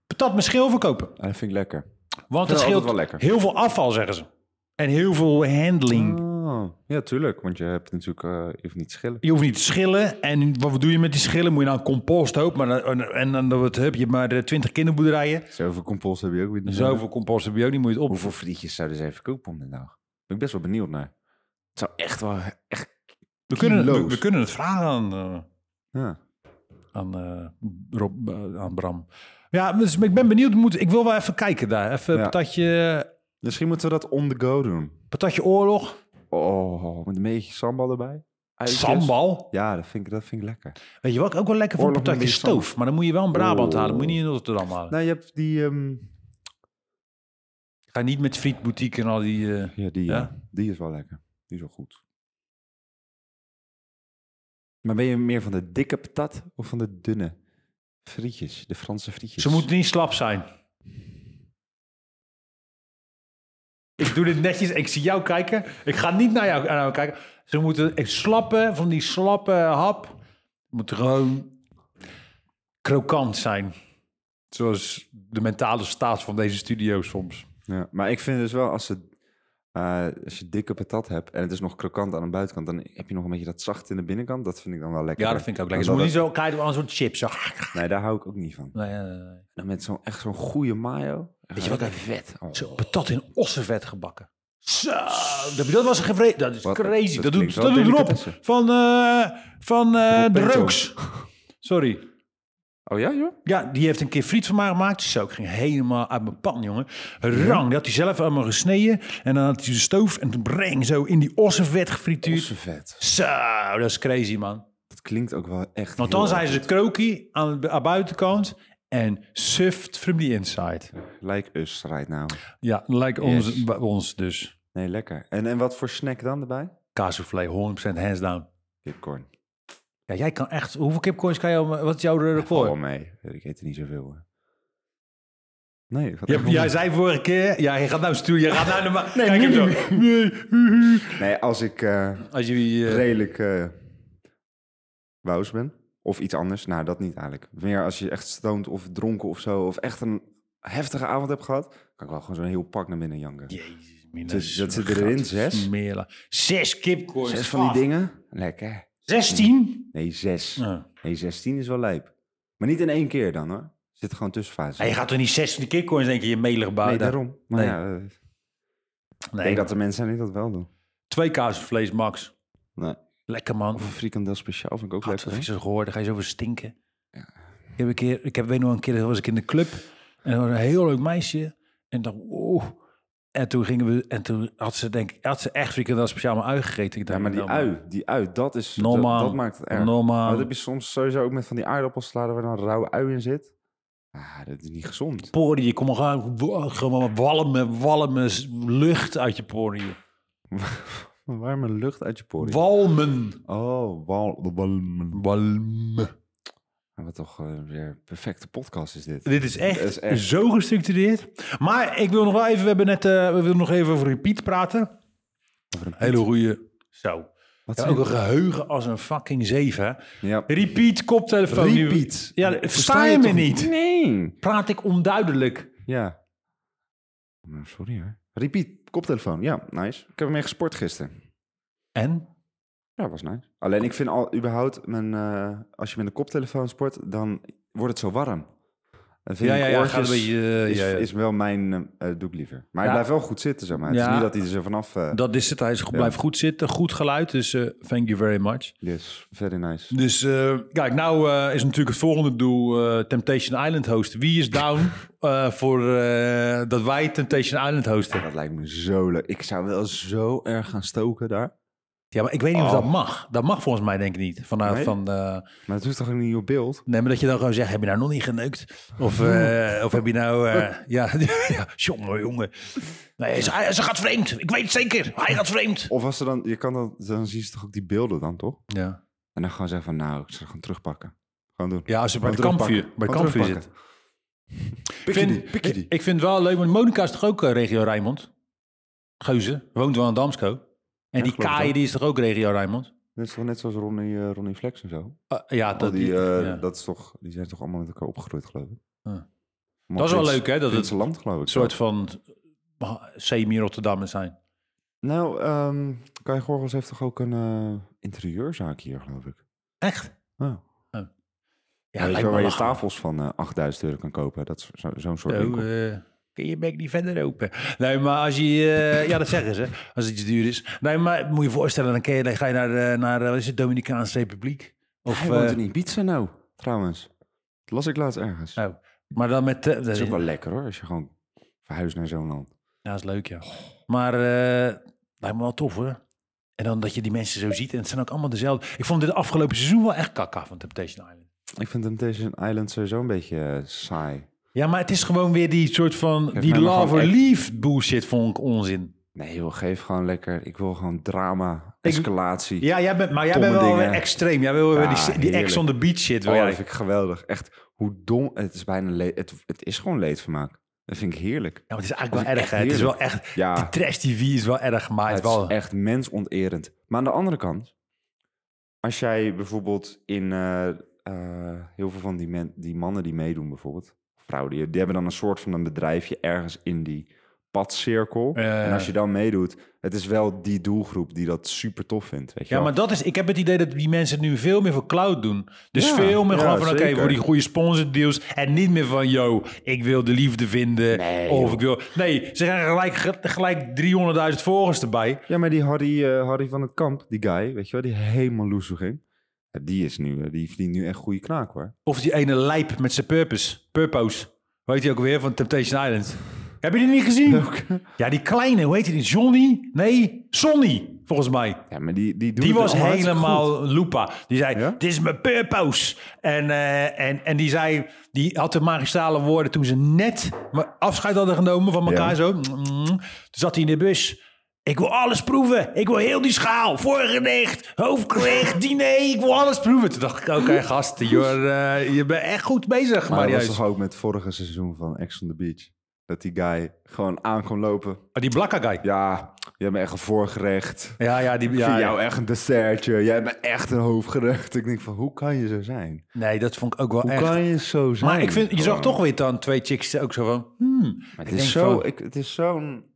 Patat met schil verkopen. Ah, dat vind ik lekker. Want Vind het ik altijd scheelt wel lekker. heel veel afval, zeggen ze. En heel veel handling. Oh, ja, tuurlijk. Want je hebt natuurlijk... eh, je hoeft niet te schillen. Je hoeft niet te schillen. En wat doe je met die schillen? Moet je nou een composthoop? Maar, dan- en, en dan wordt- heb je maar twintig kinderboerderijen. Zoveel compost heb je ook weer niet. Zoveel compost heb je ook niet, moet je het op. Hoeveel frietjes zouden ze even kopen om de dag? Ben ik best wel benieuwd naar. Het zou echt wel... Echt, We kunnen, we, kilo's. we kunnen het vragen aan, eh, ja. aan, eh, Rob, eh, aan Bram. Ja, dus ik ben benieuwd. Moet, ik wil wel even kijken daar. Even Ja. patatje, Misschien moeten we dat on the go doen. patatje oorlog. Oh, met een beetje sambal erbij. Eitjes. Sambal. Ja, dat vind ik, dat vind ik lekker. Weet je wat ik ook wel lekker voor Oorlog met patatje die sambal. stoof. Maar dan moet je wel een Brabant Oh. halen. Moet je niet in Rotterdam halen. Nou, je hebt die... ehm, Ga niet met frietboutique en al die... eh, ja, die, Ja? ja, die is wel lekker. Die is wel goed. Maar ben je meer van de dikke patat of van de dunne frietjes? De Franse frietjes. Ze moeten niet slap zijn. Ik doe dit netjes. Ik zie jou kijken. Ik ga niet naar jou, naar jou kijken. Ze moeten ik slappen van die slappe hap. Moet gewoon krokant zijn. Zoals de mentale staat van deze studio soms. Ja, maar ik vind dus wel als, ze, eh, als je dikke patat hebt en het is nog krokant aan de buitenkant, dan heb je nog een beetje dat zacht in de binnenkant. Dat vind ik dan wel lekker. Ja, dat vind ik ook lekker. Ze Dan moeten dat- niet zo kijken aan zo'n chips. Zo. Nee, daar hou ik ook niet van. Nee, nee, nee. En dan met zo'n echt zo'n goede mayo. Weet je wat Lekker vet? Oh, Zo, patat in ossenvet gebakken. Zo, heb je dat was gevreten? Dat is Wat- crazy. dat Dat, doet, klinkt wel dat doet Rob delicatessen. van, eh, van eh, Rob de Peter. Rooks. Sorry. oh ja, joh? Ja, die heeft een keer friet van mij gemaakt. Zo, ik ging helemaal uit mijn pan, jongen. Rang, die had hij zelf allemaal gesneden. En dan had hij de stoof en toen breng zo in die ossenvet gefrituurd. Duurse vet. Zo, dat is crazy, man. Dat klinkt ook wel echt Want dan heel zijn erg ze krokie aan de aan buitenkant en suft from the inside. goed. Like us right now. Ja, lijkt ons, Yes. bij ons dus. Nee, lekker. En, en wat voor snack dan erbij? Kaassoufflé, 100% hands down. Popcorn. Ja, jij kan echt... Hoeveel kipcoins kan je... Wat is jouw record? Val wel mee. Ik eet er niet zoveel. hoor. Nee, ik had Je, echt jij honger. zei vorige keer, ja, je gaat nou sturen, je gaat nou normaal. Nee, Kijk nu hem niet zo. Nee, als ik eh, Als jullie... eh, redelijk eh wous ben. Of iets anders. Nou, dat niet eigenlijk. Meer als je echt stoned of dronken of zo. Of echt een heftige avond hebt gehad. Kan ik wel gewoon zo'n heel pak naar binnen janken. Jezus, mina, Dus dat zit gaat erin, zes? smeren. Zes kipcorns. Zes van die vast. dingen. Lekker. Zestien? Nee, zes. Ja. Nee, 16 is wel lijp. Maar niet in één keer dan hoor. Zit gewoon tussenfase. Ja, je gaat toch niet zes van die kipcorns denk je je melig bouwen? nee, daarom. Maar Nee. ja, eh, ik Nee, denk dat er mensen zijn die dat wel doen. Twee kaas vlees max. Nee. Lekker man. Of een frikandel speciaal vind ik ook Had lekker. dat hè? is gehoord, daar ga je zo van stinken. Ik heb een keer, ik heb weet nog een keer, dat was ik in de club en er was een heel leuk meisje en dan wow. En toen gingen we en toen had ze denk ik, had ze echt frikandel speciaal maar ui gegeten. Ik Ja, dacht, maar die nou, ui, die ui, dat is... dat- Normaal. Dat, maakt het erg. Maar Normaal. dat heb je soms sowieso ook met van die aardappelsalade waar dan rauwe ui in zit. Ah, dat is niet gezond. Poriën, kom maar gewoon, wa- gewoon walmen, walmen s- lucht uit je poriën. Een warme lucht uit je poriën. Walmen. Oh, wal, walmen. Walmen. Ah, Wat toch eh, weer een perfecte podcast is dit. Dit is echt, Dat is echt- zo gestructureerd. Maar ik wil nog wel even, we hebben net, eh, we willen nog even over repeat praten. Over een Hele goeie. Zo. Wat Ja, zei ook een je? geheugen als een fucking zeven. Ja. Repeat, koptelefoon. die- Repeat. Ja, Nee, versta je me toch niet? Nee. Praat ik onduidelijk? Ja. Nou, sorry hoor. Repeat, koptelefoon. Ja, nice. Ik heb ermee gesport gisteren. En? Ja, was nice. Alleen ik vind al überhaupt, mijn, eh, als je met een koptelefoon sport, dan wordt het zo warm. Dan vind Ja, ik ja, ja. oortjes- Gaat een beetje, eh, is, ja, ja. is wel mijn, eh eh, doe ik liever. Maar Ja. hij blijft wel goed zitten, zeg maar. Het Ja. is niet dat hij er zo vanaf... eh Dat is het. Hij is, goed- blijft goed zitten. Goed geluid. Dus eh, thank you very much. Yes, very nice. Dus eh, kijk, nou eh, is natuurlijk het volgende doel eh, Temptation Island hosten. Wie is down eh, voor eh, dat wij Temptation Island hosten? Dat lijkt me zo leuk. Ik zou wel zo erg gaan stoken daar. Ja, maar ik weet niet of Oh. dat mag. Dat mag volgens mij denk ik niet. Vanuit Nee? van... eh, Maar het hoeft toch ook niet op beeld? Nee, maar dat je dan gewoon zegt, heb je nou nog niet geneukt? Of, eh, of heb je nou... eh, ja, ja, jongen, jongen. Nee, ze, ze gaat vreemd. Ik weet het zeker. Hij gaat vreemd. Of als ze dan... Je kan dan... Dan zien ze toch ook die beelden dan, toch? Ja, En dan gewoon zeggen van, nou, ik zal het gewoon terugpakken. Gewoon doen. ja als ze bij het Gewoon kampvuur, terugpakken. bij het Gewoon kampvuur zit. terugpakken. Pik je Vind- die, pik je die. Ik vind het wel leuk, want Monika is toch ook eh, regio Rijnmond? Geuze, woont wel in Damsko. En Ja, die geloof ik Kai, wel. die is toch ook regio Rijnmond? Net, zo- net zoals Ronnie, eh, Ronnie Flex en zo. Eh, ja, dat, Dat, die, ja. eh, dat is toch, die zijn toch allemaal met elkaar opgegroeid, geloof ik. Ja. Maar Dat is wel Prins- leuk, hè, dat het Prinsenland, geloof ik. een soort van eh, semi-Rotterdammers zijn. Nou, ehm Kai Gorgels heeft toch ook een eh, interieurzaak hier, geloof ik. Echt? Oh. Ja, Weet lijkt je me waar je lachen. tafels van eh, 8000 euro kan kopen. Dat is zo- zo'n soort Zo, winkel. eh, kun je bek niet verder open. Nee, maar als je... eh, ja, dat zeggen ze. Als iets duur is. Nee, maar moet je je voorstellen, dan, kun je, dan ga je naar, eh, naar eh, wat is het, Dominicaanse Republiek. Of, Hij woont eh, in Ibiza nou, trouwens. Dat las ik laatst ergens. Ja, maar dan met... eh, dat, dat is is ook wel lekker hoor, als je gewoon verhuist naar zo'n land. ja, dat is leuk, ja. Maar eh lijkt me wel tof, hoor. En dan dat je die mensen zo ziet. En het zijn ook allemaal dezelfde. Ik vond dit afgelopen seizoen wel echt kaka van Temptation Island. Ik vind Temptation Island sowieso een beetje eh, saai. Ja, maar het is gewoon weer die soort van... Geef die mij maar love gewoon or echt- leave bullshit vond ik onzin. Nee joh, geef gewoon lekker. Ik wil gewoon drama, Ik- escalatie. Ja, jij bent, maar jij Domme bent wel dingen. weer extreem. Jij wil weer Ja, die, die ex heerlijk. on the beach shit. wil Oh, jij. dat vind ik geweldig. Echt, hoe dom. Het is bijna leed. Het, het is gewoon leedvermaak. Dat vind ik heerlijk. Ja, maar het is Dat eigenlijk wel is erg. echt hè. Het is wel heerlijk. echt. Ja. Die trash TV is wel erg, maar het het is wel. is echt mensonterend. Maar aan de andere kant, als jij bijvoorbeeld in eh, eh, heel veel van die, men- die mannen die meedoen, bijvoorbeeld, vrouwen, die, die hebben dan een soort van een bedrijfje ergens in die padcirkel. Ja, ja, ja. En als je dan meedoet, het is wel die doelgroep die dat super tof vindt. Weet je ja, wel. maar dat is. Ik heb het idee dat die mensen nu veel meer voor cloud doen. Dus Ja, veel meer ja, gewoon van oké, zeker. voor die goede sponsordeals. En niet meer van yo, ik wil de liefde vinden. Nee, of joh. ik wil. Nee, ze gaan gelijk, ge- gelijk 300.000 volgers erbij. Ja, maar die Harry, eh, Harry van het Kamp, die guy, weet je wel, die helemaal loezo ging. Ja, die is nu, eh, die verdient nu echt goede knaak hoor. Of die ene lijp met zijn purpose. Purpose. Weet je ook weer van Temptation Island? Heb je die niet gezien? Ja, die kleine, hoe heet die? Johnny? Nee, Sonny, volgens mij. Ja, maar die, die, doet Die het was allemaal hartstikke goed. helemaal loepa. Die zei, Ja? dit is mijn purpose. En, eh, en, en die zei, die had de magistrale woorden toen ze net maar afscheid hadden genomen van elkaar Ja. zo. Mm, Toen zat hij in de bus. Ik wil alles proeven. Ik wil heel die schaal. Voorgerecht, hoofdgerecht, diner. Ik wil alles proeven. Toen dacht ik, oké gast, you're, eh, je bent echt goed bezig. Maar Maar dat was toch ook met vorige seizoen van Ex on the Beach. Dat die guy gewoon aan kon lopen. Oh, die blakka guy. Ja, je hebt me echt een voorgerecht. Ja, ja, die, Ik ja, vind ja. jou echt een dessertje. Jij bent echt een hoofdgerecht. Ik denk van, hoe kan je zo zijn? Nee, dat vond ik ook wel Hoe echt. kan je zo zijn? maar ik vind, je zag Gewoon. toch weer dan twee chicks ook zo van... hmm. Maar Ik het, is denk zo, van- ik, het is zo'n...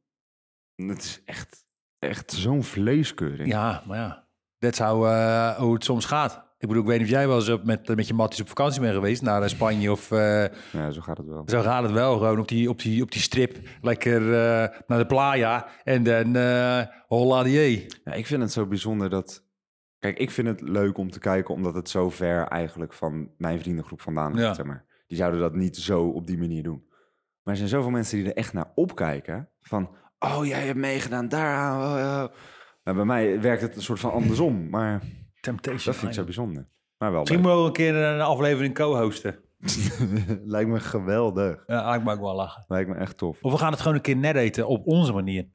Het is echt, echt zo'n vleeskeuring. Ja, maar ja. That's how, eh, hoe het soms gaat. Ik bedoel, ik weet niet of jij wel eens op met, met je matties op vakantie bent geweest. Naar eh, Spanje of... eh, Ja, zo gaat het wel. zo gaat het wel. Gewoon op die, op die, op die strip. Lekker eh, naar de playa. En dan eh hola die. Ja, ik vind het zo bijzonder dat... Kijk, ik vind het leuk om te kijken, omdat het zo ver eigenlijk van mijn vriendengroep vandaan ligt, Ja. zeg maar. Die zouden dat niet zo op die manier doen. Maar er zijn zoveel mensen die er echt naar opkijken. Van, oh, jij hebt meegedaan daaraan. oh, ja. Nou, bij mij werkt het een soort van andersom, maar Temptation dat vind ik zo Island. bijzonder. Maar wel Misschien mogen we een keer een aflevering co-hosten. leuk. Lijkt me geweldig. Ja, eigenlijk mag ik wel lachen. Lijkt me echt tof. Of we gaan het gewoon een keer net eten op onze manier.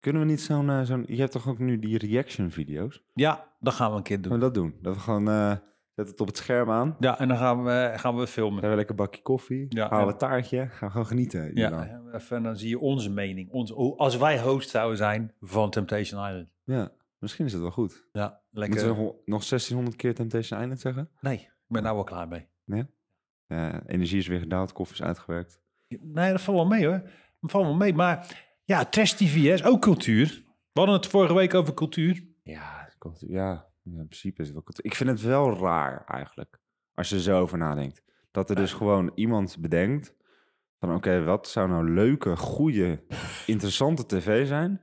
Kunnen we niet zo'n... eh, zo'n- je hebt toch ook nu die reaction video's? Ja, dat gaan we een keer doen. Kunnen we dat doen? Dat we gewoon... eh zet het op het scherm aan. Ja, en dan gaan we, eh, gaan we filmen. Dan hebben we lekker een bakje koffie, Ja, halen we en- een taartje, gaan we gewoon genieten. Ja, Ja. even, en dan zie je onze mening. Ons, hoe- als wij host zouden zijn van Temptation Island. ja, misschien is het wel goed. Ja, lekker. Moeten we nog, nog 1600 keer Temptation Island zeggen? Nee, ik ben daar wel klaar mee. Ja, energie is weer gedaald, koffie is uitgewerkt. Nee, dat valt wel mee hoor. Dat valt wel mee. Maar ja, Trash TV hè, is ook cultuur. We hadden het vorige week over cultuur. Ja, cultuur- ja, ja, in principe is het wel cultuur. Ik vind het wel raar eigenlijk, als je er zo over nadenkt. Dat er dus gewoon iemand bedenkt van oké, wat zou nou leuke, goede, interessante tv zijn?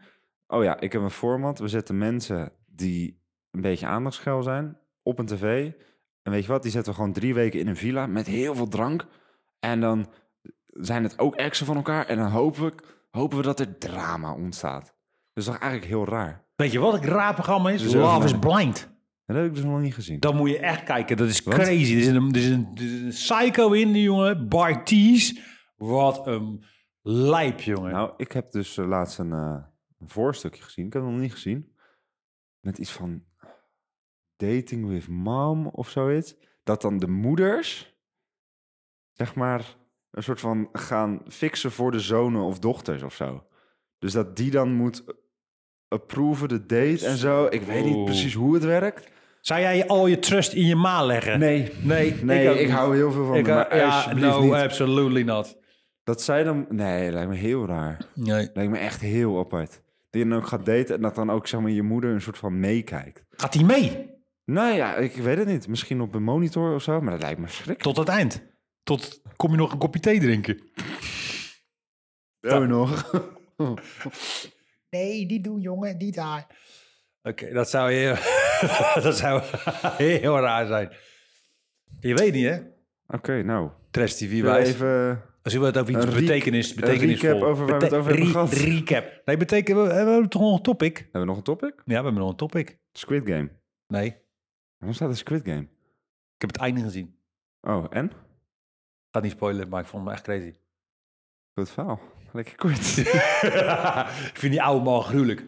Oh ja, ik heb een format. We zetten mensen die een beetje aandachtsgeil zijn op een tv. En weet je wat, die zetten we gewoon drie weken in een villa met heel veel drank. En dan zijn het ook exen van elkaar. En dan hopen we, hopen we dat er drama ontstaat. Dat is toch eigenlijk heel raar. Weet je wat een raar programma is? Dus Love is even- Blind. En dat heb ik dus nog niet gezien. Dan moet je echt kijken. Dat is Wat? crazy. Er zit, een, er, zit een, er zit een psycho in, die jongen. Barties. Wat een lijp, jongen. Nou, ik heb dus eh, laatst een, eh, een voorstukje gezien. Ik heb het nog niet gezien. Met iets van dating with mom of zoiets. Dat dan de moeders, zeg maar, een soort van gaan fixen voor de zonen of dochters of zo. Dus dat die dan moet approven de date en zo. Ik weet Zo. niet precies hoe het werkt. Zou jij je- al je trust in je ma leggen? Nee, Eh. Nee, nee, ook ik, niet. hou heel veel van Ik, de- maar eh, ja, alsjeblieft no, niet. absolutely not. Dat zij dan... Nee, lijkt me heel raar. Nee. Lijkt me echt heel apart. Die je dan ook gaat daten en dat dan ook zeg maar, je moeder een soort van meekijkt. Gaat hij mee? Nou ja, ik weet het niet. Misschien op een monitor of zo, maar dat lijkt me schrikkelijk. Tot het eind. Tot kom je nog een kopje thee drinken? Doe je nog. Nee, die doen jongen, die daar. Oké, dat zou heel, dat zou heel raar zijn. Je weet niet, hè? Oké, nou. Trash TV Zullen we wijs. even... Zullen we het over iets een re- betekenis, een betekenisvol... recap over waar we het over hebben re- gehad. Recap. Nee, betekent, we, we hebben toch nog een topic? Hebben we nog een topic? Ja, we hebben nog een topic. Squid Game. Nee, ik Waarom staat er Squid Game? heb het einde gezien. Ik Oh, en? ga het niet spoilen, maar ik vond hem echt crazy. Goed verhaal. Lekker kort. ik vind die oude man gruwelijk.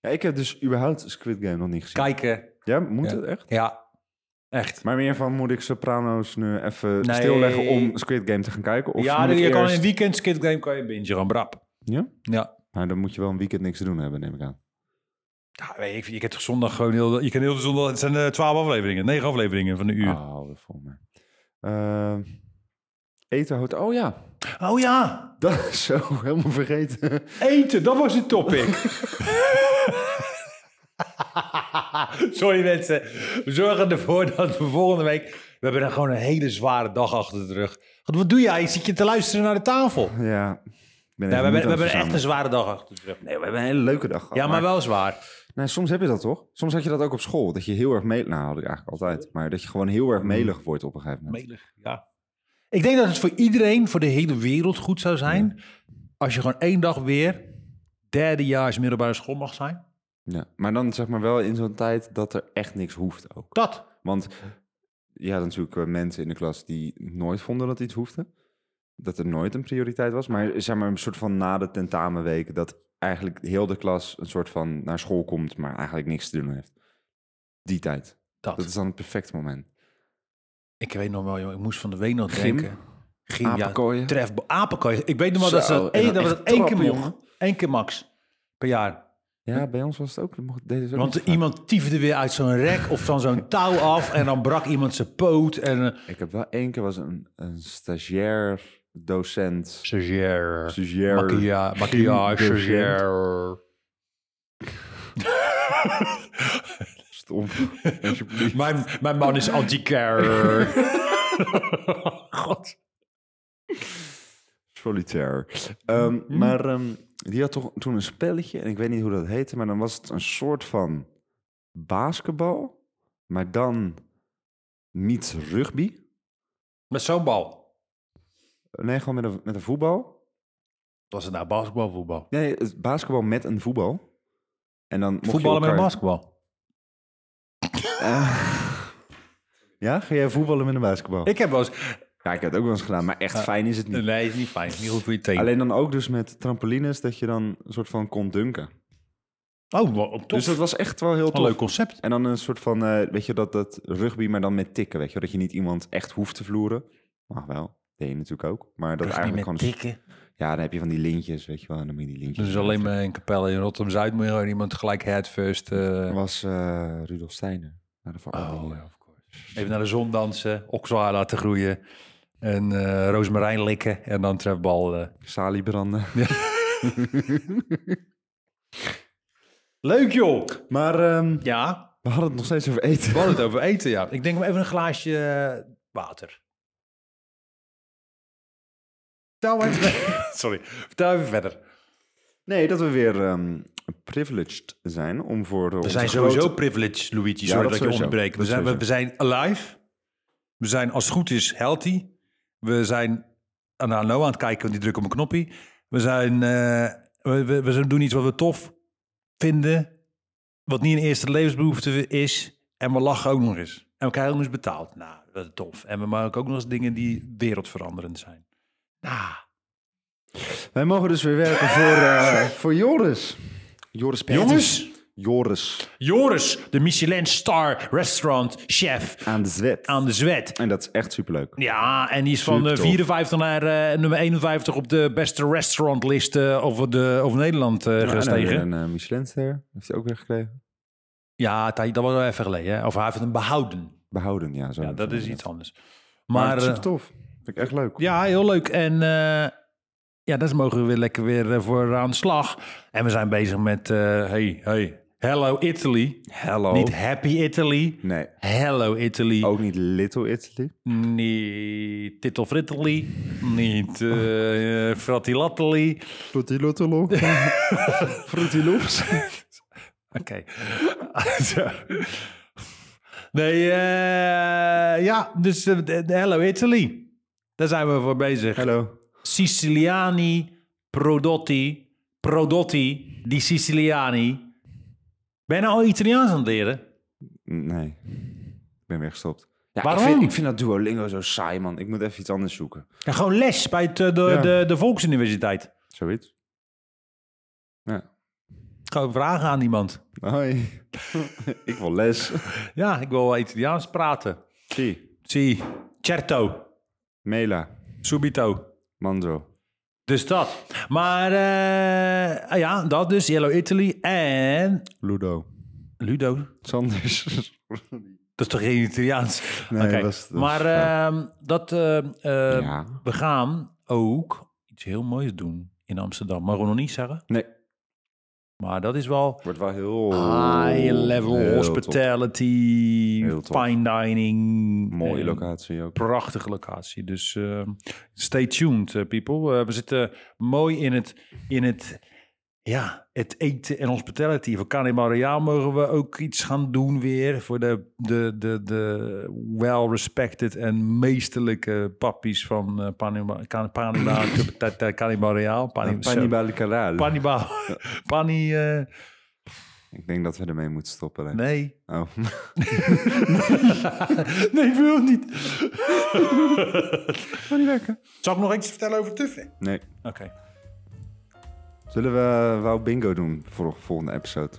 ja, ik heb dus überhaupt Squid Game nog niet gezien. Kijken, Ja, moet Ja. het echt? ja, echt. Maar meer van, moet ik Soprano's nu even Nee. stilleggen om Squid Game te gaan kijken? Of ja, moet je ik kan eerst- in een weekend Skid Game kan je bingen, gewoon brap. Ja? Ja. Maar Nou, dan moet je wel een weekend niks te doen hebben, neem ik aan. ja weet ik, ik heb toch zondag gewoon heel... Je kan heel de zondag... Het zijn eh, twaalf afleveringen, negen afleveringen van een uur. Oh, dat valt me. Ehm, eten houdt. Oh ja, Oh ja, dat is zo helemaal vergeten. eten, dat was het topic. Sorry mensen, we zorgen ervoor dat we volgende week... We hebben er gewoon een hele zware dag achter de rug. Want wat doe jij? Zit je te luisteren naar de tafel? ja. ik Ben Nee, we hebben, even moed we aan het hebben echt een verzamelen. zware dag achter de rug. Nee, we hebben een hele leuke dag gehad. Ja, maar wel zwaar. Nee, soms heb je dat toch? Soms had je dat ook op school. Dat je heel erg melig... Nou, had ik eigenlijk altijd. Maar dat je gewoon heel Mm. erg melig wordt op een gegeven moment. Melig, ja. Ik denk dat het voor iedereen, voor de hele wereld goed zou zijn... als je gewoon één dag weer derdejaars middelbare school mag zijn. Ja. Maar dan zeg maar wel in zo'n tijd dat er echt niks hoeft ook. Dat. Want je had natuurlijk eh, mensen in de klas die nooit vonden dat iets hoefde. Dat er nooit een prioriteit was. Maar zeg maar een soort van na de tentamenweek dat eigenlijk heel de klas een soort van naar school komt, maar eigenlijk niks te doen heeft. Die tijd. Dat. Dat is dan het perfecte moment. Ik weet nog wel, joh, ik moest van de week nog Gym. denken. Ging, Apenkooien. Ja, tref, apenkooien. Ik weet nog wel dat ze Zo, dat en één, dan dat we echt dat één keer trappen, mocht. jongen. Eén keer max per jaar. Ja, bij ons was het ook. dat mocht- deden ze ook Want niet vaak. iemand tiefde weer uit zo'n rek of van zo'n touw af en dan brak iemand zijn poot en eh, een Ik heb wel één keer was een, een stagiair docent. stagiair. Stagiair. Maquillage, Geen docent. stagiair. Stom. Alsjeblieft. Mijn, mijn man is anti-care. God. Solitaire. Mhm. Ehm, Maar ehm, die had toch toen een spelletje, en ik weet niet hoe dat heette, maar dan was het een soort van basketbal, maar dan niet rugby. Met zo'n bal. Nee, gewoon met een, met een voetbal. Was het nou basketbal, voetbal? Nee, het basketbal met een voetbal. En dan mocht je Voetballen met een elkaar- basketbal. Ja, ga jij voetballen met een basketbal? Ik heb wel eens... Ja, ik heb het ook wel eens gedaan, maar echt fijn is het niet. Nee, is niet fijn. Niet goed voor je teen. Alleen dan ook dus met trampolines dat je dan een soort van kon dunken. Oh, wat tof. Dus dat was echt wel heel Wat een tof. leuk concept. En dan een soort van, eh, weet je, dat, dat rugby, maar dan met tikken, weet je. wel. Dat je niet iemand echt hoeft te vloeren. Mag wel, deed je natuurlijk ook. Maar dat eigenlijk gewoon... tikken. Ja, dan heb je van die lintjes, weet je wel. En dan moet je die lintjes... Dus alleen maar in Capelle in Rotterdam-Zuid moet je gewoon iemand gelijk headfirst. Dat eh was eh, Rudolf Steiner. Naar de oh, verandering. ja, of course. Even naar de zon dansen, okswaar laten groeien en eh rozemarijn likken en dan trefbal. eh. Salie branden. Leuk joh! Maar ehm, Ja, we hadden het nog steeds over eten. we hadden het over eten, ja. Ik denk maar even een glaasje eh, water. Vertel even, sorry, vertel even verder. Nee, dat we weer ehm, privileged zijn om voor We zijn sowieso privileged, Luigi. Sorry dat dat, je sowieso. onderbreekt. We Dat zijn, we, we sowieso. zijn alive. We zijn als het goed is healthy. We zijn aan aan Noah aan het kijken, want die drukt op een knoppie. We, zijn, eh, we, we, we doen iets wat we tof vinden. Wat niet een eerste levensbehoefte is. En we lachen ook nog eens. En we krijgen ook nog eens betaald. Nou, dat is tof. En we maken ook nog eens dingen die wereldveranderend zijn. Nou, Wij mogen dus weer werken voor, eh, voor Joris. Joris Peters. Jongens? Joris. Joris, de Michelin Star Restaurant Chef Aan de zwet. aan de Zwet. En dat is echt superleuk. Ja, en die is van Super eh, tof. 54 naar eh, nummer 51 op de beste restaurantlist eh, over, de, over Nederland eh, En dan weer gestegen. een eh, Michelinster heeft hij ook weer gekregen. Ja, Thij, dat was wel even geleden. Hè? Of hij heeft hem behouden. Behouden, ja. Zo Ja, dat is iets anders. Maar, Maar het is eh, super tof. Vind ik echt leuk. ja, heel leuk. En eh, ja, daar mogen we weer lekker weer eh, voor aan de slag. En we zijn bezig met eh, hey, hey, Hello Italy. Hello. Oh. Niet Happy Italy. nee, Hello Italy. ook niet Little Italy. Niet Tittle Frittely. Niet eh eh, Fratti Lattely. Frutilottelo. Frutilops. Oké. Zo. nee, eh, ja, dus eh, de- de Hello Italy. Daar zijn we voor bezig. Hello. Siciliani, Prodotti, Prodotti, die Siciliani. Ben je nou al Italiaans aan het leren? Nee, ik ben weer gestopt. Ja, Waarom? Ik vind, ik vind dat Duolingo zo saai, man. Ik moet even iets anders zoeken. Ja, gewoon les bij het, eh, de, Ja. de, de Volksuniversiteit. Zoiets. Ja. Gewoon vragen aan iemand. Hoi. ik wil les. Ja, ik wil wel Italiaans praten. Zie. Zie, certo, Mela. subito. Mandro. Dus dat. Maar eh, ah ja, dat dus. Yellow Italy en... Ludo. Ludo. Dat Sanders. is toch geen Italiaans? Nee, Oké. dat is- dat maar is ehm, dat... eh, eh, ja. We gaan ook iets heel moois doen in Amsterdam. Mogen we nog niet zeggen. Nee. Maar dat is wel... Wordt wel heel... High level Oh, heel top. hospitality, Heel tof. fine dining. Ehm, Mooie En locatie ook. Prachtige locatie. Dus ehm, stay tuned, eh, people. Eh, we zitten mooi in het, in het, ja, het eten en hospitality. Voor Carne Mariaal mogen we ook iets gaan doen weer. Voor de, de, de, de well-respected en meesterlijke pappies van eh, Panima- Can- Panima, Carne Mariaal. Pani- Panibalicaraal. Panibal. Pani... eh, ik denk dat we ermee moeten stoppen. hè. nee. Oh. nee, ik wil het niet. Kan niet werken. Zal ik nog iets vertellen over Tuffy? Nee. eh, Oké. Zullen we wou bingo doen voor de volgende episode?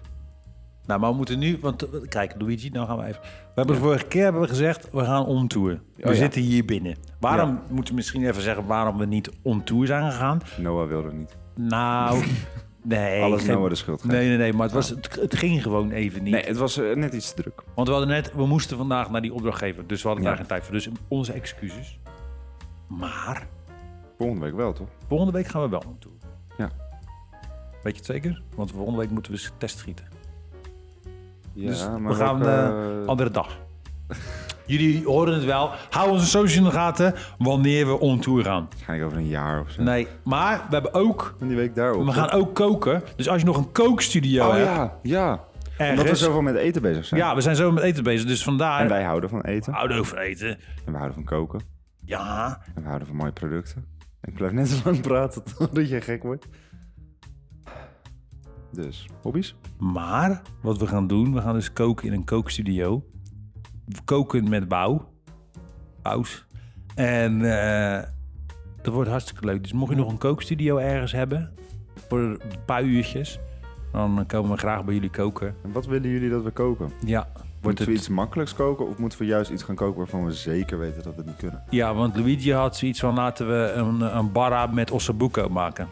Nou, maar we moeten nu, want eh, kijk, Luigi, nou gaan we even. We hebben de vorige keer hebben we gezegd, we gaan on tour. We Oh, ja. zitten hier binnen. Waarom moeten we misschien even zeggen waarom we niet on tour zijn gegaan? Noah wilde niet. Nou, nee. Alles geen- Noah de schuld geven. Ah. Nee, nee, nee, maar het, was, het, het ging gewoon even niet. Nee, het was eh, net iets te druk. Want we hadden net, we moesten vandaag naar die opdrachtgever, dus we hadden daar Ja. geen tijd voor. Dus onze excuses. Maar Volgende week wel, toch? volgende week gaan we wel on tour. Ja. Weet je het zeker? Want volgende week moeten we eens testschieten. Ja, Dus maar we gaan welke- eh, andere dag. Jullie horen het wel. Hou onze social in de gaten wanneer we on tour gaan. waarschijnlijk over een jaar of zo. Nee, maar we hebben ook. En die week daarop. We gaan ook koken. Dus als je nog een kookstudio Oh hebt. ja, ja. Omdat we Ergens. zoveel met eten bezig zijn. Ja, Ah. we zijn zo met eten bezig. Dus En vandaar. wij houden van eten. Houden over eten. En we houden van koken. Ja. En we houden van mooie producten. En ik blijf net zo lang praten totdat je gek wordt. Dus, hobby's? Maar wat we gaan doen, we gaan dus koken in een kookstudio. We Koken met bouw. Paus. En eh, dat wordt hartstikke leuk. Dus mocht je nog een kookstudio ergens hebben, voor een paar uurtjes, dan komen we graag bij jullie koken. En wat willen jullie dat we koken? Ja, wordt Moeten we het, iets makkelijks koken of moeten we juist iets gaan koken waarvan we zeker weten dat we het niet kunnen? ja want Luigi had zoiets van laten we een, een barra met ossobuco maken.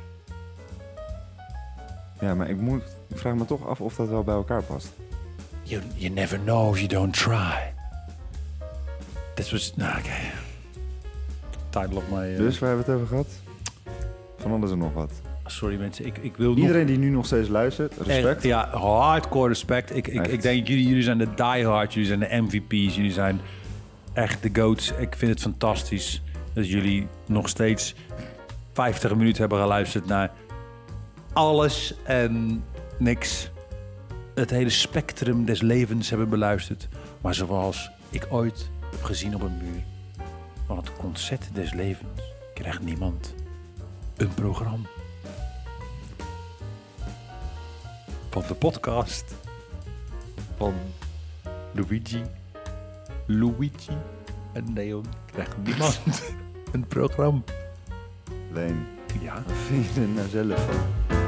Ja, maar ik, moet, ik vraag me toch af of dat wel bij elkaar past. You, you never know if you don't try. Dit was... Nou, oké. Title of my... eh, Dus waar hebben we het over gehad? Van alles en nog wat. Sorry mensen, ik, ik wil nog... Iedereen die nu nog steeds luistert, respect. Echt, ja, hardcore respect. Ik, ik, Echt. ik denk, jullie, jullie zijn de diehard, jullie zijn de MVP's, jullie zijn echt de goats. Ik vind het fantastisch dat jullie nog steeds 50 minuten hebben geluisterd naar alles en niks. Het hele spectrum des levens hebben beluisterd. Maar zoals ik ooit heb gezien op een muur, van het concert des levens krijgt niemand een programma. van de podcast van Luigi. Luigi en Leon krijgt niemand een programma. Leen, Ja. wat vind je er nou zelf van?